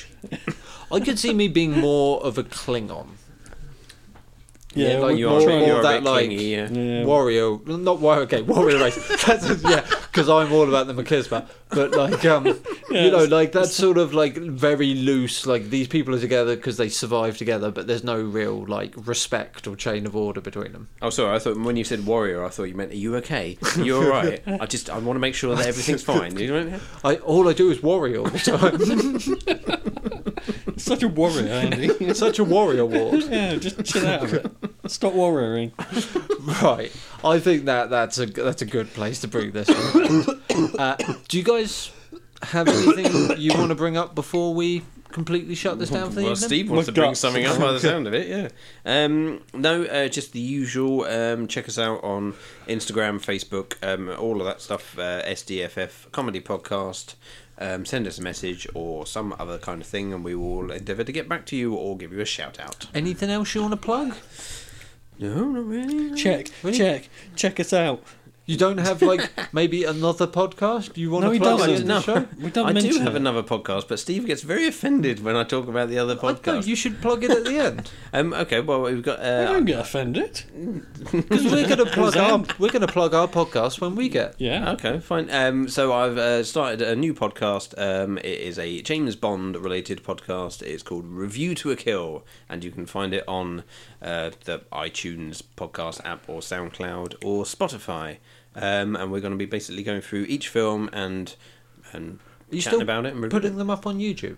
S2: I could see me being more of a Klingon.
S3: Yeah,
S2: like
S3: with
S4: you
S2: more-
S4: are
S2: more
S4: you are a
S2: that,
S4: bit
S2: like-
S4: clingy yeah.
S3: Yeah.
S2: Warrior, not warrior, okay, warrior race. That's yeah, because I'm all about the machismo. But like, um, you know,
S3: it's-
S2: like that's sort of like very loose. Like these people are together because they survive together, but there's no real like respect or chain of order between them.
S4: Oh, sorry. I thought when you said warrior, I thought you meant, "Are you okay? You're all right." I just I want to make sure that everything's fine. You know?
S2: I all I do is warrior all the time.
S3: Such a warrior, Andy.
S2: Such a warrior ward.
S3: yeah, just chill out of it. Stop warrioring.
S2: Right. I think that that's a that's a good place to bring this. One. Uh, do you guys have anything you want to bring up before we completely shut this down for the
S4: Well,
S2: evening?
S4: Steve
S3: My
S4: wants to bring
S3: guts.
S4: something up by the sound of it, yeah. Um, no, uh, just the usual. Um, check us out on Instagram, Facebook, um, all of that stuff. Uh, SDFF Comedy Podcast. Um, send us a message or some other kind of thing, and we will endeavour to get back to you or give you a shout out.
S2: Anything else you want to plug?
S4: No, not really.
S3: Check,
S2: Really?
S3: check, check us out.
S2: You don't have like maybe another podcast you want
S3: No,
S2: to
S3: he
S2: plug at the
S3: doesn't.
S2: end of
S4: No.
S2: the show?
S3: We don't
S4: I do
S3: mention
S4: have
S3: it.
S4: another podcast, but Steve gets very offended when I talk about the other
S2: I know,
S4: podcast.
S2: you should plug it at the end
S4: Um, okay, well we've got.
S3: I
S4: Uh,
S3: don't get offended.
S2: because we're going to plug our
S3: Zan.
S2: we're going to plug our podcast when we get.
S3: Yeah.
S4: ah, Okay, fine. Um, so I've uh, started a new podcast. Um, it is a James Bond related podcast. It's called Review to a Kill, and you can find it on uh, the iTunes podcast app or SoundCloud or Spotify. Um, and we're going to be basically going through each film and and
S2: Are you still
S4: chatting about it. And reviewing
S2: putting them up on YouTube?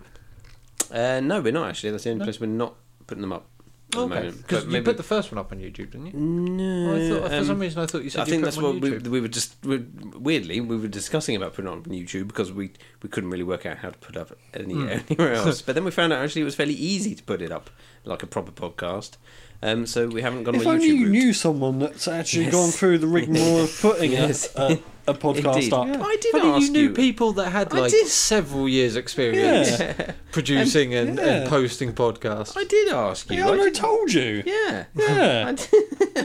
S4: it. Uh, no, we're not actually. That's the only place we're not putting them up. At the
S2: Okay,
S4: moment.
S2: because
S4: But
S2: you
S4: maybe-
S2: put the first one up on YouTube, didn't you?
S4: no,
S2: I thought, for
S4: um,
S2: some reason, I thought you said
S4: I
S2: you
S4: think
S2: put
S4: that's
S2: them on
S4: what we,
S2: YouTube.
S4: we were just we weirdly we were discussing about putting it on YouTube because we we couldn't really work out how to put up any,
S2: Hmm.
S4: anywhere else. but then we found out actually it was fairly easy to put it up like a proper podcast. Um, so we haven't gone
S3: If
S4: on a
S3: only
S4: YouTube
S3: you
S4: route.
S3: knew someone that's actually
S4: Yes.
S3: gone through the rigmarole of putting
S4: Yes.
S3: a, a, a podcast
S4: Indeed.
S3: up.
S4: Yeah. I did
S2: Funny,
S4: ask
S2: you knew people that had
S4: I
S2: like
S4: did.
S2: several years experience
S3: Yeah.
S2: producing and, and
S3: yeah.
S2: posting podcasts.
S4: I did ask you.
S3: Yeah,
S4: I
S3: I
S4: did-
S3: told you.
S4: yeah. I
S3: Yeah.
S4: did-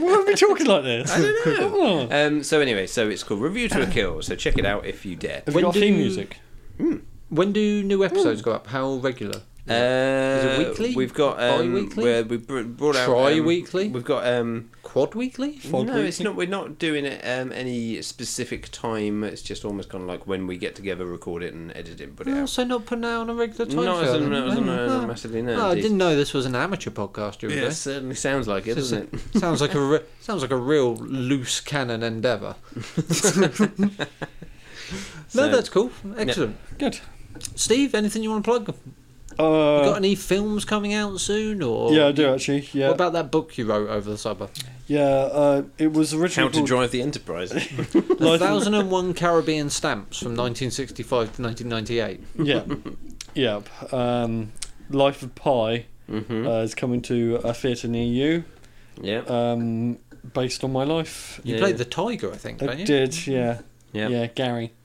S3: Why are we talking like this?
S4: I don't know.
S3: Oh.
S4: Um, so anyway, so it's called Review to a Kill. So check it out if you dare.
S3: Have
S2: When
S3: you got
S2: do-
S3: theme music?
S2: When do new episodes go up? How regular?
S4: Uh,
S2: Is it weekly?
S4: We've got um,
S2: Bi-weekly?
S4: where we br- brought out
S2: Tri-weekly?
S4: Um, we've got um,
S2: Quad weekly?
S3: Fog
S4: no, it's
S3: weekly?
S4: not. We're not doing it um, any specific time. It's just almost kind of like when we get together, record it and edit it, and put it
S2: Oh,
S4: out.
S2: so not putting out on a regular time.
S4: Not as
S2: scale
S4: in-
S2: then?
S4: not as in-
S2: Oh,
S4: not
S2: oh.
S4: massively. No,
S2: Oh, I
S4: indeed.
S2: didn't know this was an amateur podcast you were
S4: Yeah,
S2: doing.
S4: it certainly sounds like it,
S2: This is-
S4: doesn't it?
S2: sounds like a re- sounds like a real loose cannon endeavour. no,
S4: So-
S2: that's cool. Excellent.
S3: Good.
S2: Steve, anything you want to plug? You got
S3: Uh,
S2: any films coming out soon? Or
S3: yeah, I do actually. Yeah.
S2: What about that book you wrote over the summer?
S3: yeah, uh, it was
S4: How
S3: originally
S4: to
S3: called
S4: drive the Enterprise.
S2: The
S3: Life in-
S2: 1001 Caribbean Stamps from 1965 to 1998.
S3: yeah, yep. Um, Life of Pi
S2: Hmm?
S4: mm-hmm.
S3: uh, is coming to a theatre near you,
S4: yeah,
S3: um, based on my life.
S2: You
S4: Yeah.
S2: played the tiger, I think,
S3: I
S2: don't you?
S3: did, yeah,
S4: yeah, yeah,
S3: yeah, Gary.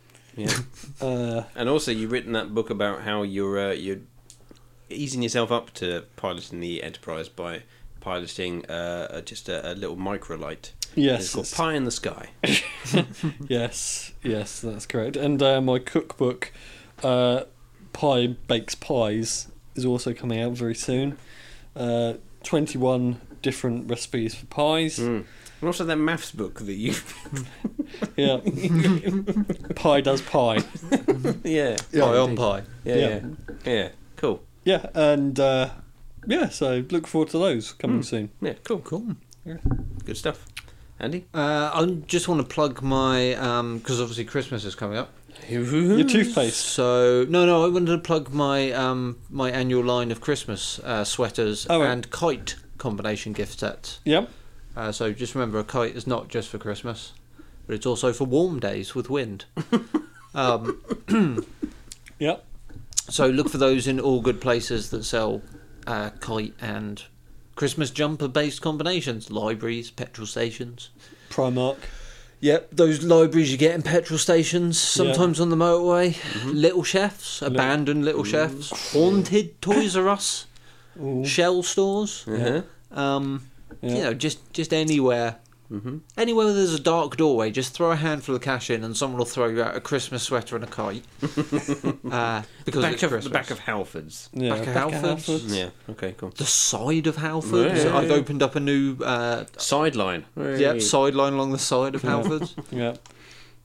S3: Uh,
S4: And also, you've written that book about how you're uh, you're easing yourself up to piloting the Enterprise by piloting uh, uh, just a, a little microlight. it's
S3: yes,
S4: called
S3: it's-
S4: Pie in the Sky.
S3: yes, yes, that's correct. And uh, my cookbook, uh, Pie Bakes Pies, is also coming out very soon. Uh, Twenty-one different recipes for pies.
S4: Mm. And also that maths book that you
S3: Yeah, pie does pie.
S4: yeah
S2: Pie on pie.
S4: yeah yeah
S3: Yeah.
S4: yeah cool
S3: Yeah, and uh, yeah, so look forward to those coming soon.
S4: yeah cool
S2: Cool.
S4: good stuff Andy
S2: Uh, I just want to plug my because obviously Christmas is coming up.
S4: Uh-huh.
S3: Your toothpaste.
S2: So no, no, I wanted to plug my um, my annual line of Christmas uh, sweaters
S3: Oh, right.
S2: and kite combination gift sets.
S3: Yep.
S2: Uh, so just remember, a kite is not just for Christmas, but it's also for warm days with wind. um,
S3: Yep.
S2: so look for those in all good places that sell uh, kite and Christmas jumper based combinations, libraries, petrol stations.
S3: Primark.
S2: Yep, those libraries you get in petrol stations, sometimes on the motorway. Little chefs, abandoned little chefs, haunted Toys R Us,
S3: Ooh.
S2: shell stores.
S4: uh-huh.
S2: Um, You
S3: Yeah.
S2: know, just just anywhere, anywhere where there's a dark doorway, just throw a handful of cash in, and someone will throw you out a Christmas sweater and a kite. uh, because
S4: back
S2: it's
S4: of
S2: Christmas.
S4: the back of Halfords
S3: Yeah.
S2: Back of
S3: of
S2: Halfords.
S4: yeah okay cool
S2: The side of Halford.
S4: Yeah, yeah,
S2: I've
S4: yeah.
S2: opened up a new uh,
S4: sideline
S2: yep, sideline along the side of Halford.
S3: Yeah.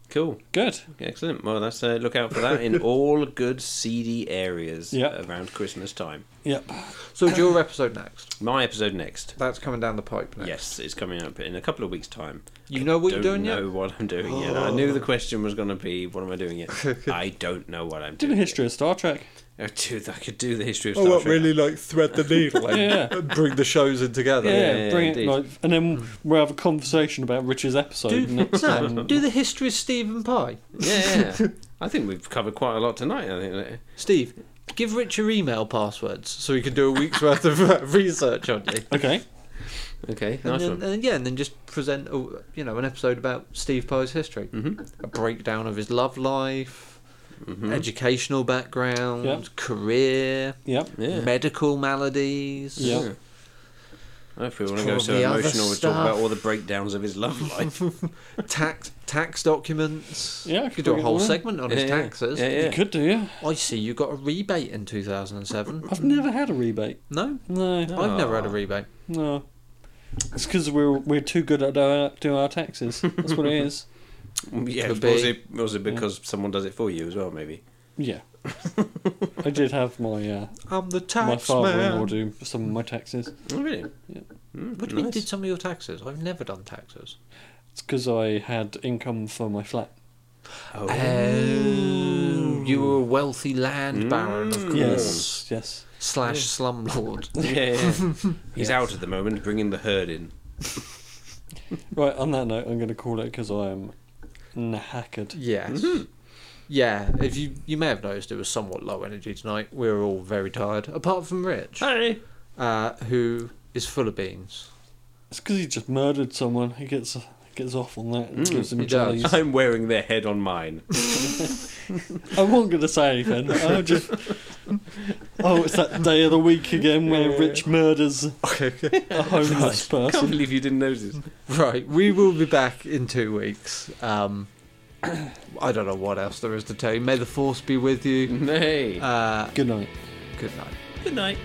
S4: Cool.
S3: Good.
S4: Excellent. Well, that's uh, look out for that in all good seedy areas
S3: Yep.
S4: around Christmas time.
S3: Yep.
S2: So it's your episode next.
S4: My episode next.
S2: That's coming down the pipe next.
S4: Yes, it's coming up in a couple of weeks' time.
S2: You know what you're
S4: don't
S2: doing
S4: know
S2: yet?
S4: what I'm doing yet. I knew the question was going to be, "What am I doing yet?" I don't know what I'm
S3: Did
S4: doing.
S3: a history of Star Trek.
S4: Yet. Oh, dude, I could do the history of Star
S1: Oh, what
S4: Trek.
S1: really like thread the needle and
S3: Yeah.
S1: and bring the shows in together.
S3: Yeah,
S4: yeah,
S3: bring
S4: indeed.
S3: it like, and then we'll have a conversation about Rich's episode
S2: Do,
S3: next
S2: no,
S3: time.
S2: do the history of Stephen Pye.
S4: Yeah, yeah. I think we've covered quite a lot tonight. I think.
S2: Steve, give Rich your email passwords so he can do a week's worth of uh, research on you.
S3: Okay.
S4: Okay,
S2: And,
S4: nice
S2: then, and
S4: one.
S2: then- yeah, and then just present, a, you know, an episode about Steve Pye's history,
S4: Mm-hmm.
S2: a breakdown of his love life,
S4: Mm-hmm.
S2: educational background,
S3: Yeah.
S2: career,
S3: Yep.
S4: Yeah.
S2: medical maladies.
S3: Yeah.
S4: I don't feel we want to go so
S2: Probably other
S4: emotional. We talk
S2: stuff.
S4: about all the breakdowns of his love life.
S2: tax tax documents.
S3: Yeah, I
S2: you
S3: could
S2: could do a
S3: bring it
S2: whole
S3: all in.
S2: segment on
S4: Yeah,
S2: his
S4: yeah.
S2: taxes.
S4: Yeah,
S3: You
S4: yeah.
S3: could do, yeah.
S2: I see you got a rebate in 2007.
S3: I've never had a rebate.
S2: No,
S3: No,
S2: I've never had a
S4: Aw.
S2: rebate.
S3: no. It's because we're we're too good at our, do our taxes. That's what it is.
S4: Yeah,
S2: Could
S4: was
S2: be.
S4: it was it because someone does it for you as well? Maybe.
S3: Yeah. I did have my uh,
S2: I'm the
S3: my
S2: tax
S3: father-in-law
S2: man.
S3: do some of my taxes.
S4: Oh, really?
S3: Yeah.
S4: Mm,
S2: What do you mean
S4: nice.
S2: did some of your taxes? I've never done taxes.
S3: It's because I had income for my flat.
S4: Oh.
S2: Oh, you were a wealthy land baron, of
S4: Mm.
S2: course.
S3: Yes, yes.
S2: Slash slumlord.
S4: Yeah, yeah. He's out at the moment, bringing the herd in.
S3: Right. On that note, I'm going to call it because I am knackered.
S2: Yes.
S3: Mm-hmm.
S2: Yeah, if you you may have noticed, it was somewhat low energy tonight. We were all very tired, apart from Rich,
S4: Hey.
S2: uh, who is full of beans.
S3: It's because he just murdered someone. He gets gets off on that. And gives
S2: Mm, he
S3: him
S2: does.
S3: jellies.
S4: I'm wearing their head on mine.
S3: I wasn't going to say anything. I just. Oh, it's that day of the week again where Rich murders a homeless
S4: I can't
S3: person.
S4: believe you didn't notice.
S2: Right, we will be back in two weeks. Um, I don't know what else there is to tell you. May the force be with you.
S4: Hey.
S2: Uh,
S3: Good night.
S2: good night.
S4: Good night.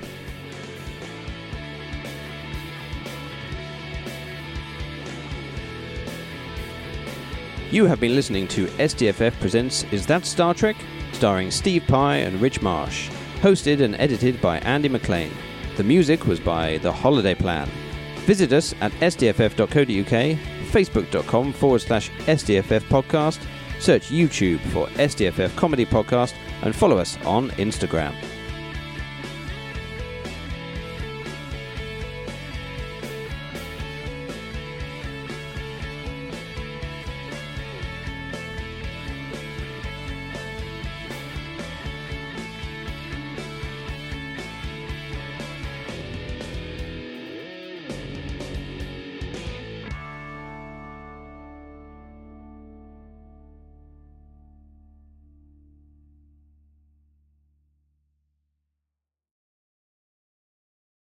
S4: You have been listening to SDFF Presents Is That Star Trek? starring Steve Pye and Rich Marsh. Hosted and edited by Andy McLean. The music was by The Holiday Plan. Visit us at sdff.co.uk, facebook.com forward slash SDFF podcast, search YouTube for SDFF Comedy Podcast, and follow us on Instagram.